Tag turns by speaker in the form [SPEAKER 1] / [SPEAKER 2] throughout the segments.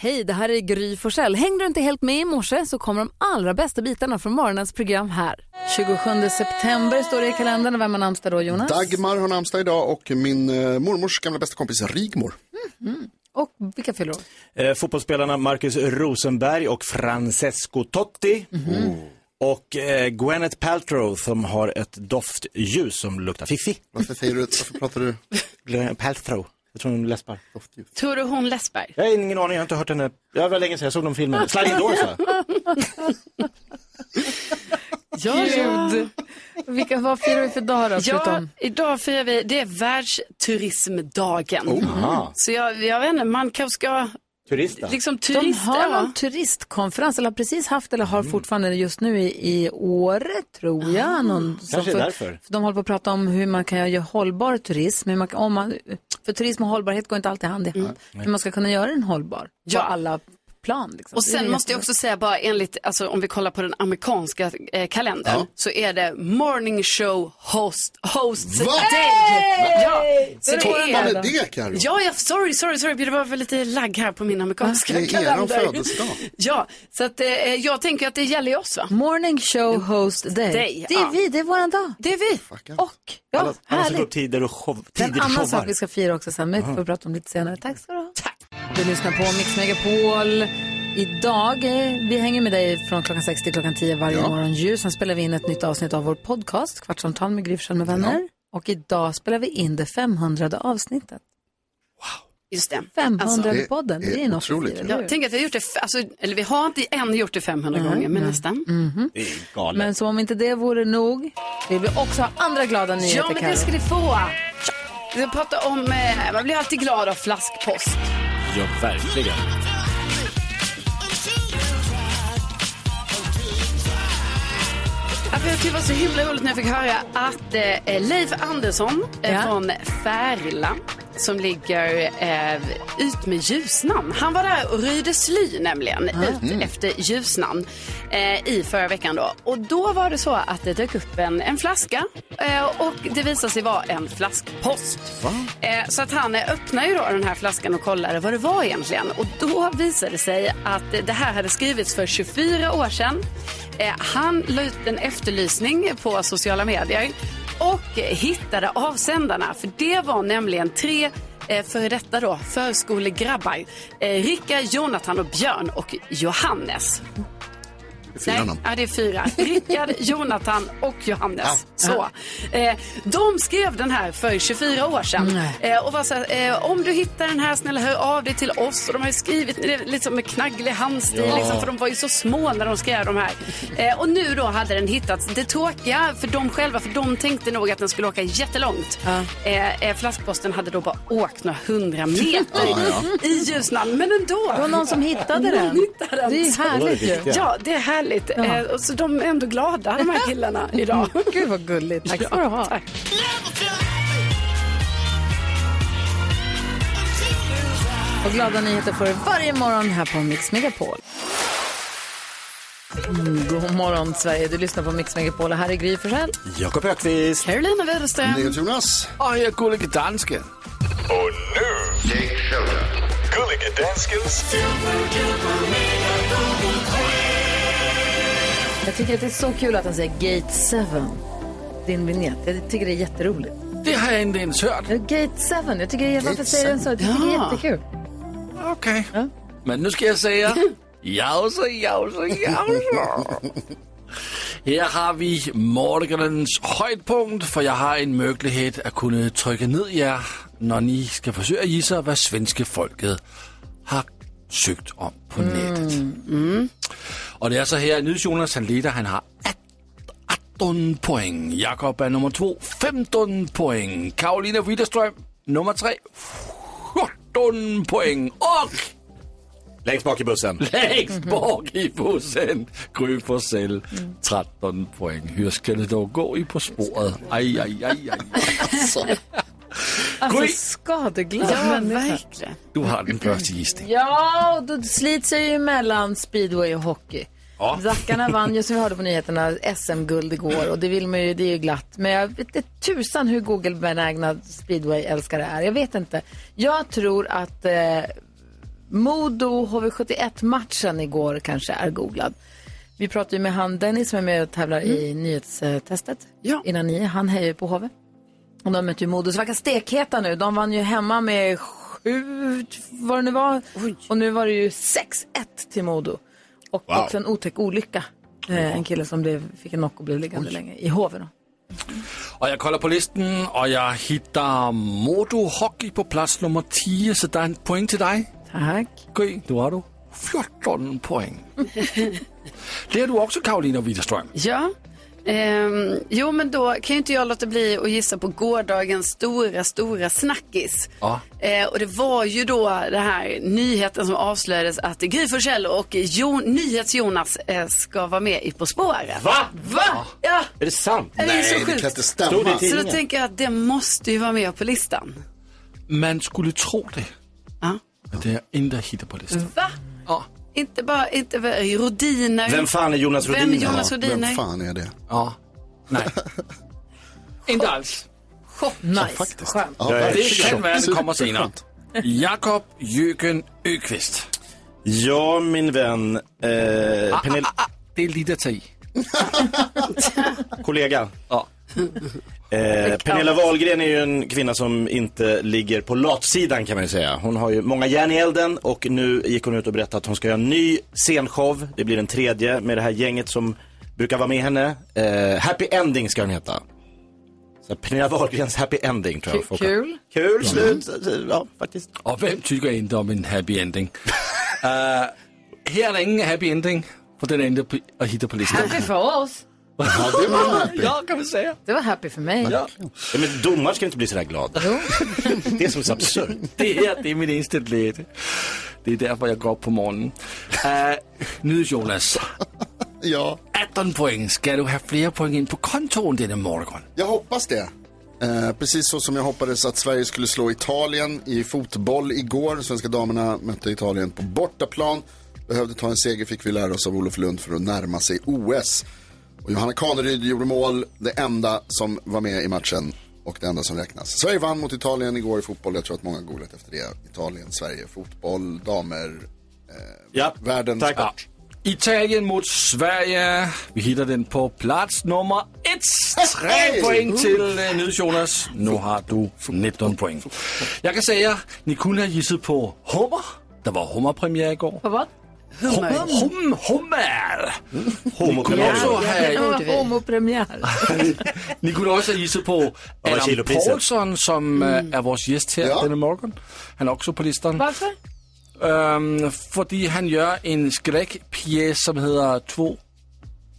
[SPEAKER 1] Hej, det här är Gry Forssell. Hängde du inte helt med i morse så kommer de allra bästa bitarna från morgonens program här. 27 september står det i kalendern. Vem har namnsdag då, Jonas?
[SPEAKER 2] Dagmar har namnsdag idag och min eh, mormors gamla bästa kompis Rigmor.
[SPEAKER 1] Och vilka fyller år?
[SPEAKER 3] Eh, fotbollsspelarna Marcus Rosenberg och Francesco Totti.
[SPEAKER 1] Mm-hmm.
[SPEAKER 3] Och eh, Gwyneth Paltrow som har ett doftljus som luktar fiffi.
[SPEAKER 2] Varför säger du, varför pratar du?
[SPEAKER 3] Glenn Paltrow. Jag tror hon läspar.
[SPEAKER 4] Tror du hon Läsberg?
[SPEAKER 3] Jag har ingen aning, jag har inte hört henne. Jag var länge sedan jag såg de filmen. Sliding Doors va?
[SPEAKER 1] Gud! Vilka, vad firar vi för dag då,
[SPEAKER 4] Ja,
[SPEAKER 1] förutom?
[SPEAKER 4] idag firar vi, det är världsturismdagen.
[SPEAKER 2] Oh.
[SPEAKER 1] Oh,
[SPEAKER 3] Aha.
[SPEAKER 4] Så jag, jag vet inte, man kanske ska,
[SPEAKER 3] Turista.
[SPEAKER 4] liksom
[SPEAKER 1] De
[SPEAKER 4] turist,
[SPEAKER 1] har
[SPEAKER 4] ja. Mm.
[SPEAKER 1] någon turistkonferens, eller har precis haft eller har fortfarande just nu i, i Åre, tror jag. Någon som
[SPEAKER 3] Kanske
[SPEAKER 1] för,
[SPEAKER 3] därför.
[SPEAKER 1] för De håller på att prata om hur man kan göra hållbar turism. Hur man kan, om man, för turism och hållbarhet går inte alltid hand i hand. Hur man ska kunna göra den hållbar
[SPEAKER 4] Mm. Ja.
[SPEAKER 1] på alla plan. Liksom.
[SPEAKER 4] Och
[SPEAKER 1] Det är
[SPEAKER 4] sen måste jag också säga bara enligt, alltså om vi kollar på den amerikanska eh, kalendern,
[SPEAKER 2] Ja.
[SPEAKER 4] så är det morning show host, hosts
[SPEAKER 2] Va?
[SPEAKER 4] day. Ja, så det
[SPEAKER 2] Torkar man
[SPEAKER 4] är...
[SPEAKER 2] med det Carro?
[SPEAKER 4] Ja, ja, sorry, sorry, sorry, det var väl lite lagg här på min amerikanska
[SPEAKER 2] Det är eran
[SPEAKER 4] kalender.
[SPEAKER 2] födelsedag. Mm.
[SPEAKER 4] Ja, så att eh, jag tänker att det gäller ju oss va?
[SPEAKER 1] Morning show host day.
[SPEAKER 4] Day,
[SPEAKER 1] det är
[SPEAKER 4] ja.
[SPEAKER 1] vi, det är våran dag.
[SPEAKER 4] Det är vi.
[SPEAKER 1] Och, ja,
[SPEAKER 3] Alla, alla som går upp
[SPEAKER 1] härligt.
[SPEAKER 3] tider och show,
[SPEAKER 1] Det är en
[SPEAKER 3] tider
[SPEAKER 1] annan sak
[SPEAKER 3] showar.
[SPEAKER 1] vi ska fira också sen, men det får vi prata om lite senare. Tack ska du ha. Du lyssnar på Mix Megapol. Idag, eh, vi hänger med dig från klockan 6 till klockan 10 varje morgon. Ju. Sen spelar vi in ett nytt avsnitt av vår podcast, Kvartsamtal med Gry Forssell med vänner. Och idag spelar vi in det 500 avsnittet.
[SPEAKER 4] Just Alltså, det.
[SPEAKER 1] 500
[SPEAKER 2] Det
[SPEAKER 1] podden, det är,
[SPEAKER 2] är
[SPEAKER 1] ju något att
[SPEAKER 2] otroligt,
[SPEAKER 1] fira,
[SPEAKER 2] ju.
[SPEAKER 1] eller
[SPEAKER 4] Ja,
[SPEAKER 1] hur?
[SPEAKER 4] tänk att vi har gjort det, f- alltså, eller vi har inte än gjort det 500 gånger, men nästan.
[SPEAKER 3] Det är galet.
[SPEAKER 1] Men som om inte det vore nog, vill vi också ha andra glada nyheter,
[SPEAKER 4] Ja, men
[SPEAKER 1] Karo.
[SPEAKER 4] det ska du få. Vi pratar om, eh, man blir alltid glad av flaskpost.
[SPEAKER 3] Ja, verkligen.
[SPEAKER 4] Ja, för Jag tyckte det var så himla roligt när jag fick höra att eh, Leif Andersson eh,
[SPEAKER 1] Ja.
[SPEAKER 4] från Färila som ligger eh, ut med Ljusnan. Han var där och röjde sly nämligen ut efter Ljusnan eh, i förra veckan då. Och då var det så att det dök upp en, en flaska eh, och det visade sig vara en flaskpost. Eh, så att han eh, öppnade ju då den här flaskan och kollade vad det var egentligen. Och då visade det sig att eh, det här hade skrivits för 24 år sedan. Eh, Han la ut en efterlysning på sociala medier och eh, hittade avsändarna. För det var nämligen tre eh, före detta då, förskolegrabbar. Eh, Rickard, Jonathan och Björn och Johannes.
[SPEAKER 2] Fyra namn.
[SPEAKER 4] ja, det är fyra. Rickard, Jonathan och Johannes. Så. Eh, de skrev den här för 24 år sedan. Eh, och var så här, eh, om du hittar den här, snälla hör av dig till oss. Och de har ju skrivit eh, liksom med knagglig handstil, liksom, för de var ju så små när de skrev de här. Eh, och nu då hade den hittats. Det tråkiga för dem själva, för de tänkte nog att den skulle åka jättelångt. Eh, eh, flaskposten hade då bara åkt några hundra meter i Ljusnan, men ändå.
[SPEAKER 1] Det var någon som hittade den.
[SPEAKER 4] Någon hittade den.
[SPEAKER 1] Det är ju
[SPEAKER 4] Så-
[SPEAKER 1] härligt ju.
[SPEAKER 3] viktiga.
[SPEAKER 4] Ja, det är härligt. Eh, och så de är ändå glada, de här killarna, idag.
[SPEAKER 1] Gud vad gulligt. Tack ska du ha.
[SPEAKER 4] Tack.
[SPEAKER 1] Och glada nyheter får du varje morgon här på Mix Megapol. Mm, god morgon Sverige, du lyssnar på Mix Megapol och här är Gry Forssell.
[SPEAKER 3] Jakob Ökvist.
[SPEAKER 4] Carolina Widerström.
[SPEAKER 2] Jonas.
[SPEAKER 5] Och jag är Gullige Dansken.
[SPEAKER 6] Och nu, Gullige Danskens
[SPEAKER 1] Jag tycker att det är så kul att han säger Gate 7. Din vignett. Jag tycker det är jätteroligt.
[SPEAKER 5] Det har jag inte ens hört.
[SPEAKER 1] Ja, Gate 7. Jag tycker, varför
[SPEAKER 2] Gate
[SPEAKER 1] säger den så? Jag tycker det är
[SPEAKER 4] Ja.
[SPEAKER 1] jättekul.
[SPEAKER 5] Okej. Men nu ska jag säga... Jausa, jausa, jausa. Här har vi morgonens höjdpunkt, för jag har en möjlighet att kunna trycka ned er när ni ska försöka gissa vad svenska folket har sökt om på nätet. Och det är så här, NyhetsJonas han leder, han har 18 poäng. Jakob är nummer 2, 15 poäng. Karolina Widerström, nummer 3, 14 poäng. Och
[SPEAKER 3] Längst bak i bussen.
[SPEAKER 5] längst bak i bussen, Gry Forssell, 13 poäng. Hur ska det då gå i På spåret? Aj, aj, aj, aj. Alltså.
[SPEAKER 1] Alltså
[SPEAKER 7] Gå i-
[SPEAKER 1] skadeglad
[SPEAKER 4] Ja,
[SPEAKER 1] människa.
[SPEAKER 4] verkligen.
[SPEAKER 7] Du har den första gissningen.
[SPEAKER 1] Ja, och då slits jag ju mellan speedway och hockey.
[SPEAKER 7] Ja.
[SPEAKER 1] Zackarna vann ju som vi hörde på nyheterna SM-guld igår och det vill man ju, det är ju glatt. Men jag vet inte tusan hur Google-benägna speedway-älskare är. Jag vet inte. Jag tror att eh, Modo HV71-matchen igår kanske är googlad. Vi pratade ju med han Dennis som är med och tävlar i nyhetstestet
[SPEAKER 4] Ja.
[SPEAKER 1] innan ni. Han hejar ju på HV. Och de mötte ju Modo, så verkar stekheta nu. De vann ju hemma med sju, vad det nu var. Och nu var det ju 6-1 till Modo. Och
[SPEAKER 7] Wow.
[SPEAKER 1] också en otäck olycka. Eh, en kille som blev, fick en knock och blev liggande länge i HV. Då.
[SPEAKER 7] Och jag kollar på listan och jag hittar Modo Hockey på plats nummer 10, så det är en poäng till dig.
[SPEAKER 1] Tack.
[SPEAKER 7] Gry, då har du 14 poäng. Det är du också Karolina Widerström.
[SPEAKER 4] Ja. Ehm, jo, men då kan ju inte jag låta bli att gissa på gårdagens stora, stora snackis.
[SPEAKER 7] Ja.
[SPEAKER 4] Eh, och det var ju då det här nyheten som avslöjades att Gry Forssell och jo, NyhetsJonas eh, ska vara med i På spåret.
[SPEAKER 3] Va?
[SPEAKER 4] Va? Ja,
[SPEAKER 3] Är det sant?
[SPEAKER 4] det är ju så
[SPEAKER 2] Nej, det kan
[SPEAKER 4] sjukt.
[SPEAKER 2] inte
[SPEAKER 3] Stod det
[SPEAKER 2] stämma.
[SPEAKER 3] i tid-
[SPEAKER 4] Så då
[SPEAKER 3] Ingen.
[SPEAKER 4] tänker jag att det måste ju vara med på listan.
[SPEAKER 7] Man skulle tro det,
[SPEAKER 4] Ja.
[SPEAKER 7] men det är inte hittat på listan.
[SPEAKER 4] Va?
[SPEAKER 7] Ja.
[SPEAKER 4] Inte bara, inte bara Rodiner.
[SPEAKER 3] Vem fan är Jonas
[SPEAKER 4] Vem
[SPEAKER 3] Rhodiner?
[SPEAKER 4] Jonas
[SPEAKER 2] Vem
[SPEAKER 4] Rodiner?
[SPEAKER 2] fan är det?
[SPEAKER 7] Ja. Nej. inte alls.
[SPEAKER 1] Nice. Skönt.
[SPEAKER 2] Ja,
[SPEAKER 3] Jag är
[SPEAKER 2] verkligen.
[SPEAKER 7] Det kan vara det kommer senare.
[SPEAKER 2] Superskönt.
[SPEAKER 7] Jakob Jöken Öqvist.
[SPEAKER 3] Ja, min vän. Eh, Penel-
[SPEAKER 7] Ah, det är lite att ta i.
[SPEAKER 3] kollega.
[SPEAKER 7] Ja.
[SPEAKER 3] Eh, Pernilla Wahlgren är ju en kvinna som inte ligger på latsidan kan man ju säga. Hon har ju många järn i elden och nu gick hon ut och berättade att hon ska göra en ny scenshow. Det blir den tredje med det här gänget som brukar vara med henne. Eh, Happy Ending ska den heta. Så Pernilla Wahlgrens Happy Ending tror jag.
[SPEAKER 1] Kul-
[SPEAKER 3] folk har-
[SPEAKER 1] kul.
[SPEAKER 3] Kul slut. Ja, faktiskt.
[SPEAKER 7] Och vem tycker inte om en happy ending? Eh, här är det ingen happy ending, för den är inte på- att hitta på listan.
[SPEAKER 1] Happy för oss.
[SPEAKER 2] Ja, det var happy.
[SPEAKER 7] Ja, kan vi säga.
[SPEAKER 1] Det var happy för mig.
[SPEAKER 3] Ja, men domaren ska inte bli sådär glad. Det är som är så absurt.
[SPEAKER 7] Det her, det er min eneste glæde. Det er derfor, jeg går op på morgenen. Uh, nydes Jonas.
[SPEAKER 2] Ja,
[SPEAKER 7] 18 point. Skal du have flere point ind på kontoen denne morgen?
[SPEAKER 2] jag hoppas det. Eh, precis så som jag hoppades att Sverige skulle slå Italien i fotboll igår. Svenska damerna mötte Italien på bortaplan. Behövde ta en seger fick vi lära oss av Olof Lund för att närma sig OS. Och Johanna Kaneryd gjorde mål, det enda som var med i matchen och det enda som räknas. Sverige vann mot Italien igår i fotboll. Jag tror att många har googlat efter det. Italien, Sverige, fotboll, damer.
[SPEAKER 3] Ja,
[SPEAKER 2] Världens
[SPEAKER 3] tack.
[SPEAKER 2] sport.
[SPEAKER 7] Italien mod Sverige. Vi hitter den på plads nummer 1. 3
[SPEAKER 2] Hey!
[SPEAKER 7] point til uh, Nydes Jonas. Nu har du 19 point. Jeg kan sige, at Nicole har gisset på hummer. Der var hummerpremiere i går.
[SPEAKER 1] På vad?
[SPEAKER 7] Hummer. Hum, hummer. Nicole
[SPEAKER 3] Homokolonier.
[SPEAKER 7] også
[SPEAKER 1] Det
[SPEAKER 7] have
[SPEAKER 1] var homopremiär.
[SPEAKER 7] Ni kunne også have gisset på Adam
[SPEAKER 3] kilopriser?
[SPEAKER 7] Paulsson, som øh, er vores gæst her
[SPEAKER 2] Ja.
[SPEAKER 7] denne morgen. Han er også på listen.
[SPEAKER 1] Varför?
[SPEAKER 7] Øhm, fordi han gør en skrækpjæs, som hedder 2,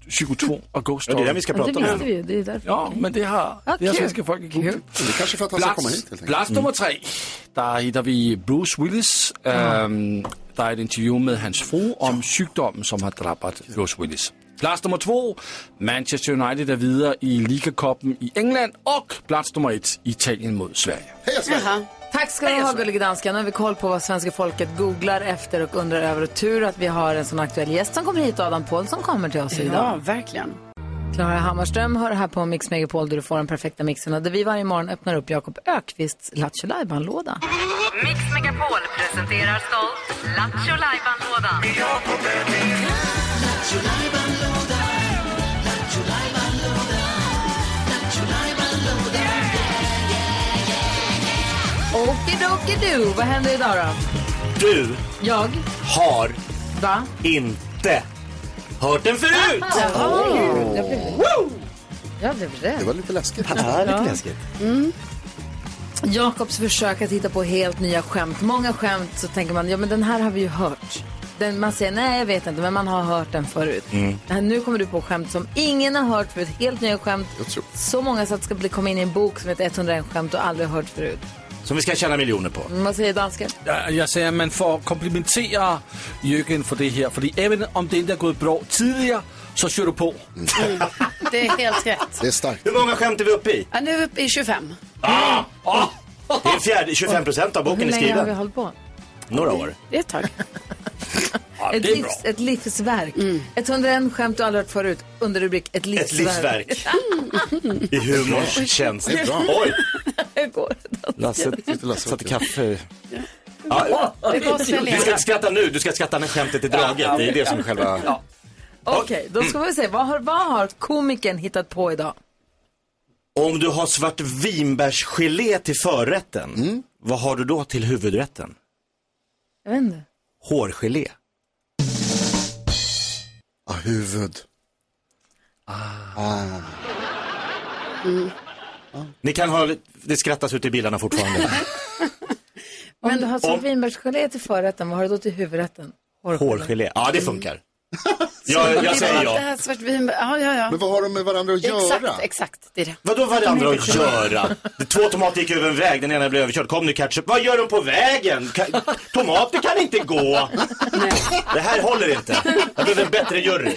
[SPEAKER 7] Psyko 2 og Ghost
[SPEAKER 3] Ja, det är
[SPEAKER 7] Story.
[SPEAKER 3] den vi ska
[SPEAKER 1] Men
[SPEAKER 3] prata
[SPEAKER 1] det
[SPEAKER 3] om.
[SPEAKER 1] visste
[SPEAKER 3] nu.
[SPEAKER 1] vi ju. Det är därför.
[SPEAKER 7] Ja, men det har, det har
[SPEAKER 1] kul.
[SPEAKER 7] svenske folk i Google.
[SPEAKER 2] Det är kanske för att han ska komma hit helt
[SPEAKER 7] Plads,
[SPEAKER 2] enkelt.
[SPEAKER 7] plads nummer
[SPEAKER 3] Mm.
[SPEAKER 7] tre, der hitter vi Bruce Willis. Øhm, der er et interview med hans fru om sygdommen, som har dræbt Bruce Willis. Plads nummer to, Manchester United er videre i Ligakoppen i England. Og plads nummer et, Italien mod Sverige.
[SPEAKER 2] Heja Sverige!
[SPEAKER 1] Tack ska du ha, gullige dansken. Nu har vi koll på vad svenska folket googlar efter och undrar över. Och tur att vi har en sån aktuell gäst som kommer hit, Adam Pålsson kommer till oss idag.
[SPEAKER 4] Ja, verkligen.
[SPEAKER 1] Klara Hammarström hör här på Mix Megapol där du får den perfekta mixen och där vi varje morgon öppnar upp Jakob Ökvists Lattjo Lajban-låda.
[SPEAKER 8] Mix Megapol presenterar stolt Lattjo Lajban-lådan.
[SPEAKER 1] Okidokidu, vad händer idag då?
[SPEAKER 3] Du
[SPEAKER 1] Jag,
[SPEAKER 3] har
[SPEAKER 1] va?
[SPEAKER 3] inte hört den förut!
[SPEAKER 1] Jag blev, jag blev rädd.
[SPEAKER 2] Det var lite läskigt.
[SPEAKER 1] Jakobs försök att hitta på helt nya skämt. Många skämt så tänker man, ja men den här har vi ju hört. Den, man säger nej jag vet inte, men man har hört den förut.
[SPEAKER 3] Mm.
[SPEAKER 1] Men Nu kommer du på skämt som ingen har hört förut, helt nya skämt.
[SPEAKER 2] Jag tror-
[SPEAKER 1] Så många så att det ska bli, komma in i en bok som heter 101 skämt och aldrig hört förut.
[SPEAKER 3] Som vi ska tjäna miljoner på.
[SPEAKER 1] Men Vad säger dansken?
[SPEAKER 7] Jeg, jeg sagde, at man får komplimentere Jørgen for det her. Fordi even om det ikke er gået bra tidligere, så søger du på.
[SPEAKER 4] Det är helt rätt.
[SPEAKER 2] Det är starkt.
[SPEAKER 3] Hur många skämt är vi uppe i?
[SPEAKER 4] Ja, nu är vi uppe i 25.
[SPEAKER 7] Ah! Oh!
[SPEAKER 3] Det fjärde, 25 procent av boken
[SPEAKER 1] Hur
[SPEAKER 3] är
[SPEAKER 1] länge har vi
[SPEAKER 3] skriven.
[SPEAKER 1] hållit på?
[SPEAKER 3] Några år.
[SPEAKER 4] Det är ett tag.
[SPEAKER 3] Ja,
[SPEAKER 1] Ett,
[SPEAKER 3] det är bra.
[SPEAKER 1] livs, ett livsverk. 101 skämt du aldrig hört förut under rubrik Ett livsverk.
[SPEAKER 3] Ett livsverk. I humorns tjänst.
[SPEAKER 2] Det är bra.
[SPEAKER 3] Oj,
[SPEAKER 1] Jag går.
[SPEAKER 3] Lasse
[SPEAKER 2] Sitter Lasse
[SPEAKER 3] satte
[SPEAKER 2] och-
[SPEAKER 3] kaffe. Ja,
[SPEAKER 4] Det går att
[SPEAKER 3] du
[SPEAKER 4] svälja.
[SPEAKER 3] ska inte skratta nu, du ska skratta när skämtet är draget. Det är det som är själva...
[SPEAKER 1] Okej, då ska vi se. Vad har, vad har komikern hittat på idag?
[SPEAKER 3] Om du har svart vinbärsgelé till förrätten,
[SPEAKER 4] Mm.
[SPEAKER 3] vad har du då till huvudrätten?
[SPEAKER 1] Jag vet inte.
[SPEAKER 3] Hårgelé.
[SPEAKER 2] Ah, huvud.
[SPEAKER 3] Ni kan ha, det skrattas ute i bilarna fortfarande.
[SPEAKER 1] Om du har svart vinbärsgelé till förrätten, vad har du då till huvudrätten?
[SPEAKER 3] Hårgelé, ja det funkar. Jag, jag
[SPEAKER 4] det
[SPEAKER 3] säger
[SPEAKER 4] var Det
[SPEAKER 3] ja.
[SPEAKER 4] här svartvin... Ja, ja, ja.
[SPEAKER 2] Men vad har de med varandra att göra?
[SPEAKER 4] Exakt, exakt. Det är det.
[SPEAKER 3] Vadå vad är det andra att göra? Det- Två tomater gick över en väg, den ena blev överkörd. Kom nu ketchup, vad gör de på vägen? Ka- tomater kan inte gå. Det här håller inte. Jag behöver en bättre jury.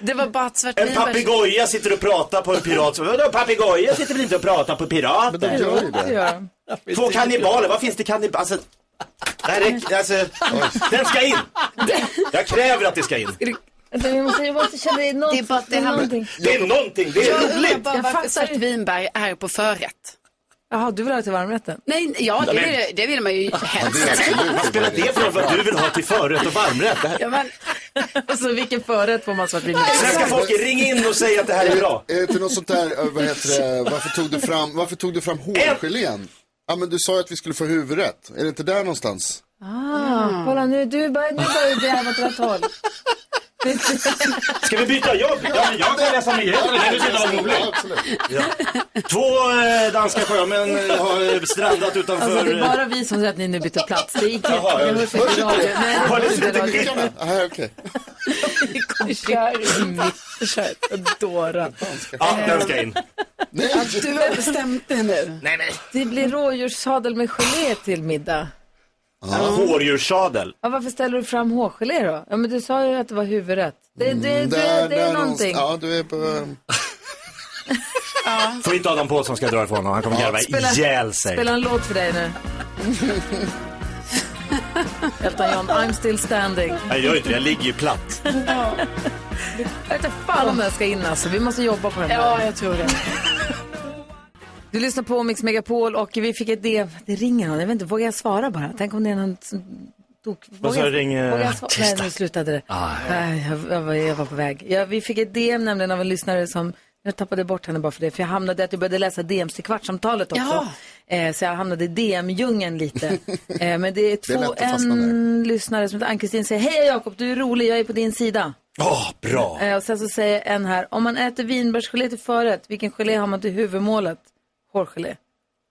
[SPEAKER 4] Det var bara ett svartvin...
[SPEAKER 3] En papegoja sitter och pratar på en pirat. Så, Vadå papegoja sitter väl inte och pratar på
[SPEAKER 2] Men de
[SPEAKER 3] pirater?
[SPEAKER 2] gör ju det.
[SPEAKER 1] Gör de.
[SPEAKER 3] Två kannibaler, vad finns det kannibaler? Alltså, det här räcker, alltså, den ska in. Jag kräver att det ska in.
[SPEAKER 1] Vänta, Vi måste, jag måste känna något.
[SPEAKER 4] Det är bara att det här-
[SPEAKER 1] någonting.
[SPEAKER 3] Det är någonting, det är
[SPEAKER 4] Jag undrar
[SPEAKER 3] roligt.
[SPEAKER 4] bara
[SPEAKER 1] Jag
[SPEAKER 4] varför
[SPEAKER 1] fattar
[SPEAKER 4] svartvinbär är på förrätt.
[SPEAKER 1] Jaha, du vill ha det till varmrätten?
[SPEAKER 4] Nej, nej, ja, det,
[SPEAKER 3] Men-
[SPEAKER 4] vill- det vill man ju helst.
[SPEAKER 3] Vad spelar det för roll vad du vill ha till förrätt och varmrätt? Det här-
[SPEAKER 4] Ja, men,
[SPEAKER 1] Alltså vilken förrätt får man svart vinbärs?
[SPEAKER 3] Svenska folket, ring in och säg att det här är bra.
[SPEAKER 2] Är det inte något sånt där, eh, vad heter det, varför tog du fram, varför tog du fram hårgelén? Ja men du sa ju att vi skulle få huvudrätt. Är det inte där någonstans?
[SPEAKER 1] Ah, kolla nu, du börjar, nu börjar du gräva åt rätt håll.
[SPEAKER 3] Ska vi byta jobb? Ja, men jag kan läsa nyheter. Det är inte vara roligt.
[SPEAKER 2] Ja, absolut.
[SPEAKER 3] Två eh, danska sjömän eh, har eh, strandat
[SPEAKER 1] Alltså det
[SPEAKER 3] utanför...
[SPEAKER 1] är
[SPEAKER 3] eh,
[SPEAKER 1] bara vi som säger att ni nu byter plats. Det gick inte.
[SPEAKER 3] Jaha,
[SPEAKER 1] Det
[SPEAKER 3] ja.
[SPEAKER 1] hörs inte i radio. Nej, det
[SPEAKER 3] Var det
[SPEAKER 1] hörs inte i
[SPEAKER 3] slutet?
[SPEAKER 1] radio.
[SPEAKER 2] Ah, okej.
[SPEAKER 1] Vi kör i mitt. Kör ett dåra.
[SPEAKER 3] Ja, den ska in.
[SPEAKER 2] Nej,
[SPEAKER 4] du har bestämt dig nu.
[SPEAKER 3] Nej, nej.
[SPEAKER 1] Det blir rådjurssadel med gelé till middag.
[SPEAKER 3] Hårdjurssadel.
[SPEAKER 1] Ja, varför ställer du fram hårgelé då? Ja, men du sa ju att det var huvudrätt. Det, det, det,
[SPEAKER 2] Mm, där,
[SPEAKER 1] det är
[SPEAKER 2] där
[SPEAKER 1] någonting.
[SPEAKER 2] någonstans. Ja, du är på...
[SPEAKER 3] Får inte Adam Pålsson ska dra ifrån honom. Han kommer garva ihjäl sig.
[SPEAKER 1] Spela en låt för dig nu. Elton John, I'm still standing.
[SPEAKER 3] Jag gör inte det. Jag ligger ju platt.
[SPEAKER 1] Jag vet inte fan om den ska in alltså. Vi måste jobba på den. här.
[SPEAKER 4] Ja, jag tror det.
[SPEAKER 1] Du lyssnar på Mix Megapol och vi fick ett DM. Det ringer någon. Jag vet inte, vågar jag svara bara? Tänk om det är någon som... Tok,
[SPEAKER 3] Vad sa
[SPEAKER 1] vågar-
[SPEAKER 3] du, eh, ringer
[SPEAKER 1] vågar jag svara? Nej,
[SPEAKER 3] tisdag?
[SPEAKER 1] nu slutade det.
[SPEAKER 3] Ah,
[SPEAKER 1] Nej, jag, jag, var, jag var på väg. Ja, vi fick ett DM nämligen av en lyssnare som... Jag tappade bort henne bara för det, för jag hamnade i att jag började läsa DMs till kvartsamtalet också. Eh, så jag hamnade i DM-djungeln lite. eh, men det är
[SPEAKER 2] är lätt
[SPEAKER 1] två,
[SPEAKER 2] att fastna
[SPEAKER 1] en lyssnare som heter Ann-Kristin säger, hej Jakob, du är rolig, jag är på din sida.
[SPEAKER 3] Åh, bra.
[SPEAKER 1] Eh, och sen så säger en här, om man äter vinbärsgelé till förrätt, vilken gelé har man till huvudmålet? Hårgelé.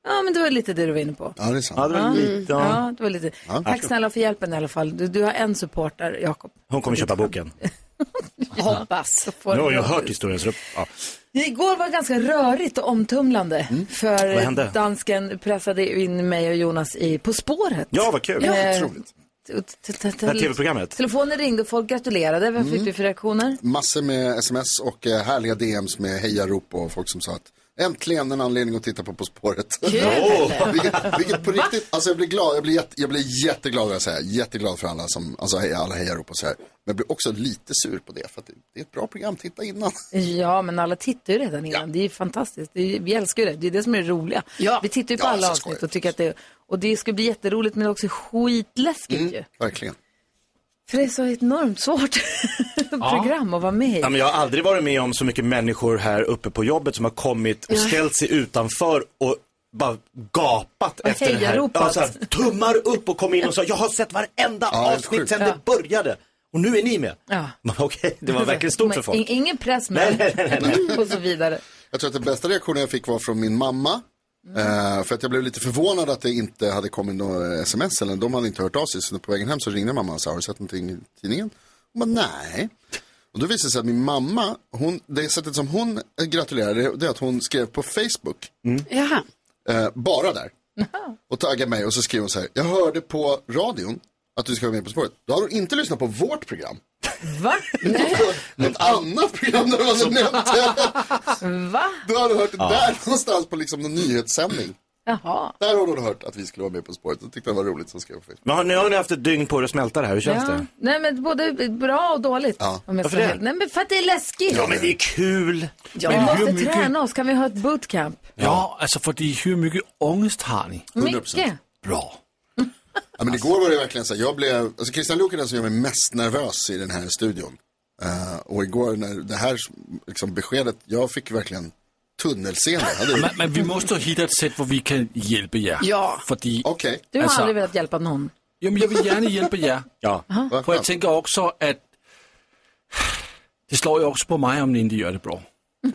[SPEAKER 1] Ja, men det var lite det du var inne på.
[SPEAKER 2] Ja, det är sant.
[SPEAKER 3] det var lite...
[SPEAKER 1] Ja, det var lite. Tack snälla för hjälpen i alla fall. Du, du har en supporter, Jakob.
[SPEAKER 3] Hon kommer köpa boken.
[SPEAKER 1] Hoppas.
[SPEAKER 3] Nu har jag hört historien. Så... Ja.
[SPEAKER 1] Igår var ganska rörigt och omtumlande.
[SPEAKER 3] Mm. Vad
[SPEAKER 1] För
[SPEAKER 3] hände?
[SPEAKER 1] dansken pressade in mig och Jonas i På spåret.
[SPEAKER 3] ja, vad kul.
[SPEAKER 1] Eh,
[SPEAKER 2] Otroligt.
[SPEAKER 1] t- t- t-
[SPEAKER 3] Det här tv-programmet. Mm.
[SPEAKER 1] Telefonen ringde och folk gratulerade. Vad fick du för reaktioner?
[SPEAKER 2] Massor med sms och eh, härliga DMs med hejarop och folk som sa att äntligen en anledning att titta på På spåret.
[SPEAKER 3] Åh,
[SPEAKER 2] vilket, vilket på riktigt, alltså jag blir glad, jag blir, jätte, jag blir jätteglad vad jag säger, jätteglad för alla som, alltså hej, alla hejarop och så här. Men jag blir också lite sur på det för att det, det är ett bra program, titta innan.
[SPEAKER 1] Ja, men alla tittar ju redan innan. Det är ju fantastiskt. Det är, ju- vi älskar ju det. Det är det som är det roliga.
[SPEAKER 4] Ja.
[SPEAKER 1] Vi tittar ju på
[SPEAKER 2] Ja,
[SPEAKER 1] alla
[SPEAKER 2] så
[SPEAKER 1] avsnitt
[SPEAKER 2] skojigt.
[SPEAKER 1] och tycker att det Och det ska bli jätteroligt, men också skitläskigt
[SPEAKER 3] Mm.
[SPEAKER 1] ju.
[SPEAKER 2] Verkligen.
[SPEAKER 1] För det är så enormt svårt program att vara med i.
[SPEAKER 3] Ja, men jag har aldrig varit med om så mycket människor här uppe på jobbet som har kommit och ställt sig utanför och bara gapat efter det här.
[SPEAKER 1] hejaropat.
[SPEAKER 3] så här. Tummar upp och kom in och sa jag har sett varenda
[SPEAKER 2] Ja, det är
[SPEAKER 3] avsnitt
[SPEAKER 2] sjukt.
[SPEAKER 3] sedan det började. Och nu är ni med.
[SPEAKER 1] Ja.
[SPEAKER 3] Man bara, Okej, det var verkligen stort för
[SPEAKER 1] Men
[SPEAKER 3] folk.
[SPEAKER 1] in- Ingen press, men...
[SPEAKER 3] Nej, nej, nej,
[SPEAKER 1] och så vidare.
[SPEAKER 2] Jag tror att den bästa reaktionen jag fick var från min mamma. Eh, för att jag blev lite förvånad att det inte hade kommit några sms eller de hade inte hört av sig. Så på vägen hem så ringde mamma och sa, har du sett någonting i tidningen? Hon bara, nej. Och då visade det sig att min mamma, hon, det sättet som hon eh, gratulerade, det är att hon skrev på Facebook,
[SPEAKER 4] Jaha.
[SPEAKER 2] eh, bara där. Och taggade mig och så skrev hon så här, jag hörde på radion att du ska vara med På spåret. Då har du inte lyssnat på vårt program.
[SPEAKER 1] Va?
[SPEAKER 2] Något annat program där du hade nämnt det.
[SPEAKER 1] Va?
[SPEAKER 2] Du hade hört det
[SPEAKER 1] Ja.
[SPEAKER 2] där någonstans på liksom en nyhetssändning.
[SPEAKER 1] Jaha.
[SPEAKER 2] Där har hon hört att vi skulle vara med På spåret. Jag tyckte det var roligt. Så skrev jag på Facebook.
[SPEAKER 3] Men har, nu har ni haft ett dygn på er att smälta det här, hur känns
[SPEAKER 1] Ja.
[SPEAKER 3] det?
[SPEAKER 1] Nej, men både bra och dåligt.
[SPEAKER 3] Ja.
[SPEAKER 1] Om jag
[SPEAKER 3] Varför
[SPEAKER 1] ska vara
[SPEAKER 3] det?
[SPEAKER 1] helt- Nej, men för att det är läskigt.
[SPEAKER 3] Ja men det är kul!
[SPEAKER 1] Ja, vi måste träna oss. Kan vi ha ett bootcamp?
[SPEAKER 5] Ja, alltså för hur mycket ångest har ni?
[SPEAKER 1] Mycket.
[SPEAKER 5] Bra.
[SPEAKER 2] Ja, men igår var det verkligen så här, jag blev, alltså Christian Luuk är den som gör mig mest nervös i den här studion. Eh, och igår när det här liksom, beskedet, jag fick verkligen tunnelseende. Hade
[SPEAKER 5] Men, men vi måste hitta ett sätt där vi kan hjälpa er.
[SPEAKER 1] Ja.
[SPEAKER 5] Fordi,
[SPEAKER 2] okay.
[SPEAKER 1] Du
[SPEAKER 3] Alltså-
[SPEAKER 1] har aldrig velat hjälpa någon.
[SPEAKER 5] Jo, men jag vill gärna hjälpa er.
[SPEAKER 3] Ja.
[SPEAKER 5] För jag tänker också att det slår ju också på mig om ni inte gör det bra.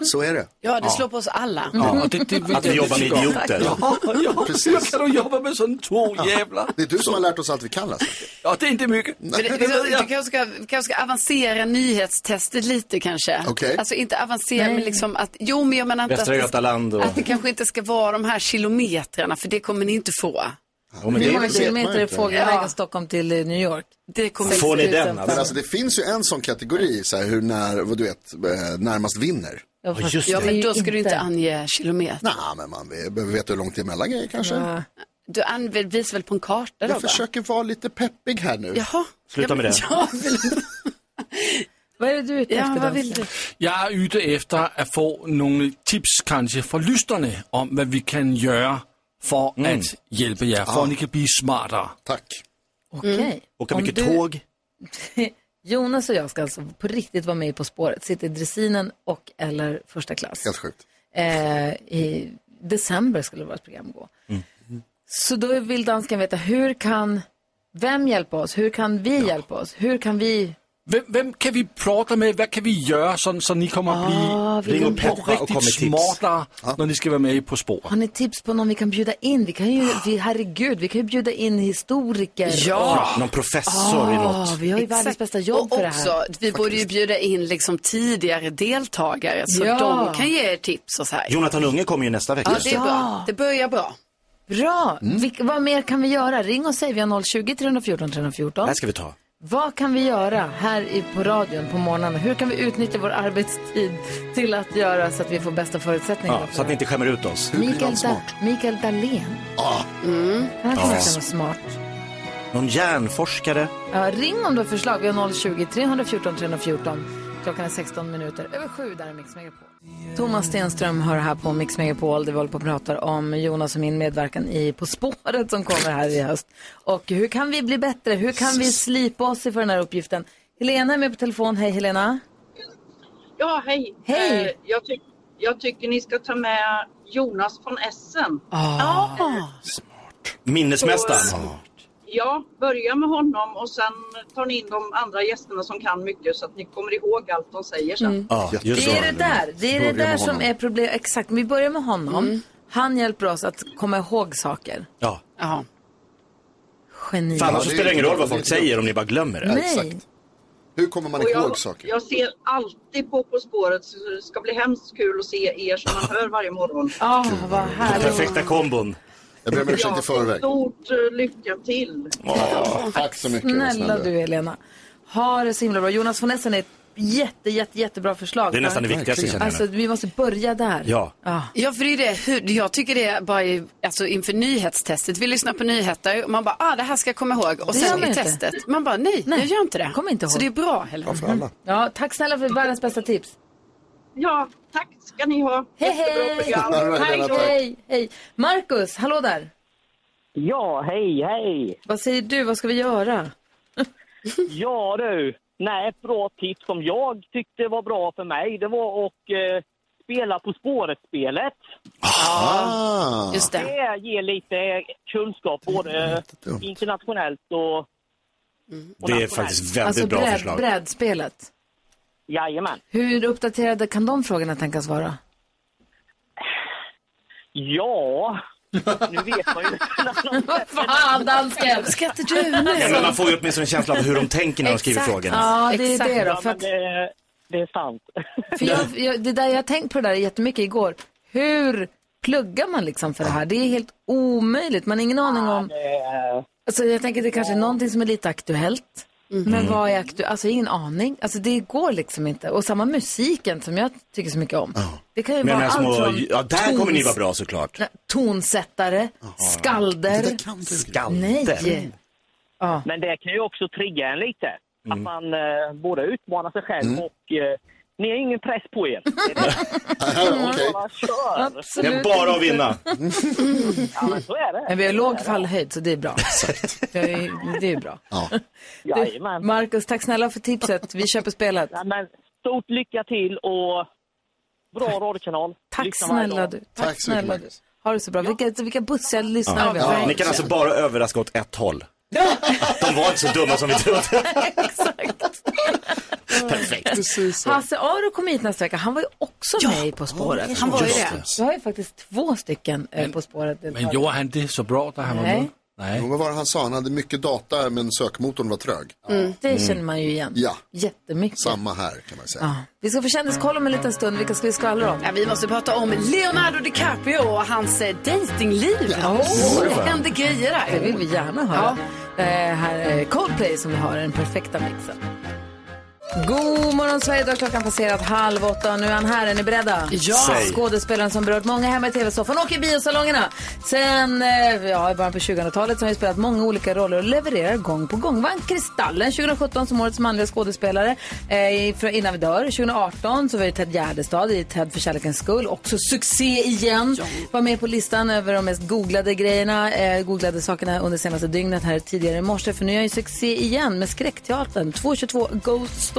[SPEAKER 2] Så är det.
[SPEAKER 4] Ja, det slår på oss alla.
[SPEAKER 3] Mm.
[SPEAKER 5] Ja, och det, det, det,
[SPEAKER 3] Att vi jobbar med idioter.
[SPEAKER 5] Ja, ja,
[SPEAKER 2] Precis.
[SPEAKER 5] Hur kan du jobba med sån två jävlar?
[SPEAKER 2] Det är du som har lärt oss allt vi kan alltså.
[SPEAKER 5] Ja, det är inte mycket.
[SPEAKER 4] Men det, liksom, du kanske ska, vi kanske ska avancera nyhetstestet lite kanske.
[SPEAKER 3] Okej.
[SPEAKER 4] Alltså inte avancera, men liksom att, jo men jag menar inte
[SPEAKER 3] Västra
[SPEAKER 4] att, det,
[SPEAKER 3] Götaland och...
[SPEAKER 4] att det kanske inte ska vara de här kilometrarna, för det kommer ni inte få.
[SPEAKER 3] Jo, men
[SPEAKER 1] Hur
[SPEAKER 3] det-
[SPEAKER 1] många
[SPEAKER 2] vet man
[SPEAKER 1] kilometer är
[SPEAKER 2] inte.
[SPEAKER 1] fågelvägen
[SPEAKER 4] Ja.
[SPEAKER 1] Stockholm till eh, New York?
[SPEAKER 4] Det kommer
[SPEAKER 1] Får ni den,
[SPEAKER 2] Men alltså det finns ju en sån kategori, så här, hur när, vad du vet, eh, närmast vinner.
[SPEAKER 1] Ja,
[SPEAKER 4] fast ja, men då ska du inte ange kilometer.
[SPEAKER 2] Nej, men man vet- behöver veta hur långt det är mellan grejer kanske.
[SPEAKER 4] Ja. Du använder, visar väl på en karta då?
[SPEAKER 2] Jag försöker vara lite peppig här nu.
[SPEAKER 4] Jaha.
[SPEAKER 3] Sluta med det.
[SPEAKER 4] Ja,
[SPEAKER 1] Vad är det du är ute
[SPEAKER 4] ja,
[SPEAKER 1] efter? Mm.
[SPEAKER 4] vad
[SPEAKER 1] Vad
[SPEAKER 4] vill du?
[SPEAKER 5] Jag är ute efter att få några tips kanske från lyssnarna om vad vi kan göra för
[SPEAKER 3] Mm.
[SPEAKER 5] att hjälpa er, för
[SPEAKER 3] Ja.
[SPEAKER 7] Ah.
[SPEAKER 5] att ni kan bli smartare.
[SPEAKER 2] Tack.
[SPEAKER 1] Okej.
[SPEAKER 3] Åka
[SPEAKER 1] Om
[SPEAKER 3] mycket
[SPEAKER 1] du-
[SPEAKER 3] tåg.
[SPEAKER 1] Jonas och jag ska alltså på riktigt vara med i På spåret. Sitta i dressinen och eller första klass.
[SPEAKER 2] Helt sjukt.
[SPEAKER 1] Eh, I december skulle vårt program gå.
[SPEAKER 2] Mm.
[SPEAKER 1] Så då vill dansken veta hur kan, vem hjälpa oss? Hur kan vi hjälpa oss? Hur kan vi
[SPEAKER 5] Vem, vem kan vi prata med? Vad kan vi göra så, så ni kommer att
[SPEAKER 1] Ah,
[SPEAKER 5] bli
[SPEAKER 1] vi kan-
[SPEAKER 5] på riktigt smarta
[SPEAKER 7] Ah.
[SPEAKER 5] när ni ska vara med i På spåret?
[SPEAKER 1] Har ni tips på någon vi kan bjuda in? Vi kan ju, vi, herregud, vi kan ju bjuda in historiker.
[SPEAKER 3] Ja, Någon professor i
[SPEAKER 1] Ja,
[SPEAKER 3] något.
[SPEAKER 1] Ah. vi har ju
[SPEAKER 4] Exakt.
[SPEAKER 1] världens bästa jobb
[SPEAKER 4] och
[SPEAKER 1] för det
[SPEAKER 4] också,
[SPEAKER 1] här.
[SPEAKER 4] Vi borde ju bjuda in liksom tidigare deltagare så
[SPEAKER 1] Ja.
[SPEAKER 4] de kan ge er tips och så här.
[SPEAKER 3] Jonathan Unge kommer ju nästa vecka.
[SPEAKER 4] Ja, det är bra. Det börjar bra.
[SPEAKER 1] Bra!
[SPEAKER 4] Mm.
[SPEAKER 1] Vilk- vad mer kan vi göra? Ring och säg, vi har 020 314
[SPEAKER 3] Det
[SPEAKER 1] 314.
[SPEAKER 3] här ska vi ta.
[SPEAKER 1] Vad kan vi göra här i, på radion på morgonen? Hur kan vi utnyttja vår arbetstid till att göra så att vi får bästa förutsättningar?
[SPEAKER 3] Ja,
[SPEAKER 1] för
[SPEAKER 3] så att
[SPEAKER 1] det
[SPEAKER 3] ni inte skämmer ut oss.
[SPEAKER 1] här? Mikael, da- Mikael Dahlén.
[SPEAKER 2] Ah.
[SPEAKER 1] Mm. Han kan
[SPEAKER 3] Ja.
[SPEAKER 1] verkligen vara smart.
[SPEAKER 3] Någon hjärnforskare.
[SPEAKER 1] Ja, ring om du har förslag. Vi har 020 314 314. Klockan är 16 minuter över sju. Där är Mix Megapol. Thomas Stenström hör här på Mix Megapol. där vi håller på och pratar om Jonas och min medverkan i På spåret som kommer här i höst. Och hur kan vi bli bättre? Hur kan vi slipa oss inför den här uppgiften? Helena är med på telefon. Hej Helena.
[SPEAKER 9] Ja, hej.
[SPEAKER 1] Hej.
[SPEAKER 9] Eh, Jag, tyck- jag tycker ni ska ta med Jonas från Essen.
[SPEAKER 3] Ah.
[SPEAKER 9] Ja.
[SPEAKER 3] Minnesmästaren.
[SPEAKER 9] ja, börja med honom och sen tar ni in de andra gästerna som kan mycket så att ni kommer ihåg allt de säger sen.
[SPEAKER 3] Ja, just
[SPEAKER 1] Det är det där, det är det
[SPEAKER 3] Börja
[SPEAKER 1] där
[SPEAKER 3] med
[SPEAKER 1] som
[SPEAKER 3] honom. Mm.
[SPEAKER 1] är problem. Exakt, vi börjar med honom. Han hjälper oss att komma ihåg saker.
[SPEAKER 3] Ja.
[SPEAKER 4] Ja.
[SPEAKER 1] Geni.
[SPEAKER 3] För annars så spelar det ingen roll vad folk säger om ni bara glömmer det.
[SPEAKER 1] Nej. Exakt.
[SPEAKER 2] Hur kommer man
[SPEAKER 9] Och
[SPEAKER 2] ihåg
[SPEAKER 9] jag,
[SPEAKER 2] saker?
[SPEAKER 9] jag ser alltid på På spåret så det ska bli hemskt kul att se er som man hör varje morgon.
[SPEAKER 1] Ja, vad
[SPEAKER 3] Den perfekta kombon.
[SPEAKER 2] Jag ber om ursäkt i förväg.
[SPEAKER 9] Stort eh, lycka till!
[SPEAKER 2] Tack så mycket. vad snäll
[SPEAKER 1] Snälla
[SPEAKER 2] du är.
[SPEAKER 1] du Helena. Ha det så himla bra. Jonas von Essen är ett jätte, jätte, jättebra förslag.
[SPEAKER 3] Det är nästan det
[SPEAKER 1] För-
[SPEAKER 3] viktigaste, känner jag
[SPEAKER 1] Alltså
[SPEAKER 3] nu.
[SPEAKER 1] vi måste börja där.
[SPEAKER 3] Ja.
[SPEAKER 4] Ja, för det är det. Hur, jag tycker det är bara i, alltså inför nyhetstestet. Vi lyssnar på nyheter och man bara, ah, det här ska jag komma ihåg. Och
[SPEAKER 1] Det gör
[SPEAKER 4] sen
[SPEAKER 1] man
[SPEAKER 4] i
[SPEAKER 1] inte.
[SPEAKER 4] testet, man bara, nej, jag gör inte det.
[SPEAKER 1] kom inte
[SPEAKER 4] Så
[SPEAKER 1] ihåg.
[SPEAKER 4] det är bra, Helena.
[SPEAKER 1] Ja, tack snälla för världens bästa tips.
[SPEAKER 9] Ja, tack ska ni ha.
[SPEAKER 1] Hej,
[SPEAKER 9] Jättebra
[SPEAKER 1] hej!
[SPEAKER 9] program.
[SPEAKER 1] Tack, hej, hej. Marcus, hallå där.
[SPEAKER 10] Ja, hej, hej!
[SPEAKER 1] Vad säger du, vad ska vi göra?
[SPEAKER 10] Ja du! Nej, ett bra tips som jag tyckte var bra för mig, det var att eh, spela På spåret-spelet.
[SPEAKER 2] Ah.
[SPEAKER 4] Just det.
[SPEAKER 10] ger lite kunskap, både internationellt och...
[SPEAKER 3] Det är faktiskt väldigt
[SPEAKER 1] alltså
[SPEAKER 3] bra
[SPEAKER 1] bräd,
[SPEAKER 3] förslag.
[SPEAKER 1] brädspelet.
[SPEAKER 10] Jajamän.
[SPEAKER 1] Hur uppdaterade kan de frågorna tänkas vara?
[SPEAKER 10] Ja, nu vet man ju...
[SPEAKER 1] Vad fan dansken!
[SPEAKER 4] Ska inte du nu?
[SPEAKER 3] Ja, men man får ju åtminstone en känsla av hur de tänker när de skriver
[SPEAKER 1] Exakt.
[SPEAKER 3] frågorna.
[SPEAKER 1] Ja, det är det då.
[SPEAKER 10] Ja,
[SPEAKER 1] För
[SPEAKER 10] men
[SPEAKER 1] att,
[SPEAKER 10] det, det är sant.
[SPEAKER 1] för jag, jag, det där, jag har tänkt på det där jättemycket igår. Hur pluggar man liksom för det här? Det är helt omöjligt. Man har ingen aning om...
[SPEAKER 10] Det är-
[SPEAKER 1] Alltså jag tänker det kanske är någonting som är lite aktuellt. Men vad är aktuellt? Alltså ingen aning. Alltså det går liksom inte. Och samma musiken som jag tycker så mycket om. Det kan ju
[SPEAKER 3] Med de
[SPEAKER 1] vara
[SPEAKER 3] här
[SPEAKER 1] allt
[SPEAKER 3] små,
[SPEAKER 1] från
[SPEAKER 3] ja där kommer ni
[SPEAKER 1] tons-
[SPEAKER 3] vara bra såklart.
[SPEAKER 1] Nej, Tonsättare, skalder.
[SPEAKER 3] Skall.
[SPEAKER 1] Nej.
[SPEAKER 10] Men det kan ju också trigga en lite. Att
[SPEAKER 3] Mm.
[SPEAKER 10] man eh, både utmanar sig själv
[SPEAKER 7] Mm.
[SPEAKER 10] och eh, ni har ingen press på er.
[SPEAKER 2] Okej.
[SPEAKER 1] Absolut
[SPEAKER 3] Det är bara att vinna.
[SPEAKER 10] Ja, men så är det.
[SPEAKER 1] Men vi har låg fallhöjd så det är bra. Det är, ju- det är bra.
[SPEAKER 2] Ja.
[SPEAKER 1] Du, Marcus, tack snälla för tipset. Vi köper spelet.
[SPEAKER 10] Ja, men stort lycka till och bra radiokanal.
[SPEAKER 1] Tack
[SPEAKER 10] Lyssna varje
[SPEAKER 1] snälla
[SPEAKER 10] dag.
[SPEAKER 1] du. Tack, snälla du. Ha det så bra. Vilka, vilka bussiga lyssnare
[SPEAKER 3] Ja.
[SPEAKER 1] vi har.
[SPEAKER 3] Ni kan alltså bara överraska åt ett håll. De var inte så dumma som vi trodde. Perfekt.
[SPEAKER 1] Hasse Aro kom hit nästa vecka. Han var ju också med i På spåret.
[SPEAKER 5] han var ju Just det. det.
[SPEAKER 1] Vi har ju faktiskt två stycken eh, På spåret
[SPEAKER 5] Men gjorde han det så bra där han var
[SPEAKER 1] Nej.
[SPEAKER 5] med? Nej.
[SPEAKER 2] Vad var det han sa? Han hade mycket data men sökmotorn var trög.
[SPEAKER 1] Mm, det känner man ju igen.
[SPEAKER 2] Ja.
[SPEAKER 1] Jättemycket.
[SPEAKER 2] Samma här kan man säga.
[SPEAKER 1] Vi ska få kändiskoll om en liten stund. Vilka ska vi skvallra om?
[SPEAKER 4] Ja, vi måste prata om Leonardo DiCaprio och hans eh, dejtingliv.
[SPEAKER 1] Åh,
[SPEAKER 4] det händer grejer där.
[SPEAKER 1] Det vill vi gärna höra. Eh, här är Coldplay som vi har, den perfekta mixen. God morgon Sverige, då har klockan passerat halv åtta och nu är han här. Är ni beredda?
[SPEAKER 4] Ja.
[SPEAKER 11] Säg.
[SPEAKER 1] Skådespelaren som berört många hemma i tv-soffan och i biosalongerna. Sen eh, ja, i början på 2000-talet så har han ju spelat många olika roller och levererar gång på gång. Vann Kristallen 2017 som årets manliga skådespelare. Eh, i- för innan vi dör 2018 så var det Ted Gärdestad i Ted för kärlekens skull. Också succé igen. Var med på listan över de mest googlade grejerna, eh, googlade sakerna under senaste dygnet här tidigare i morse. För nu är jag ju succé igen med skräckteatern 222 Ghost Story.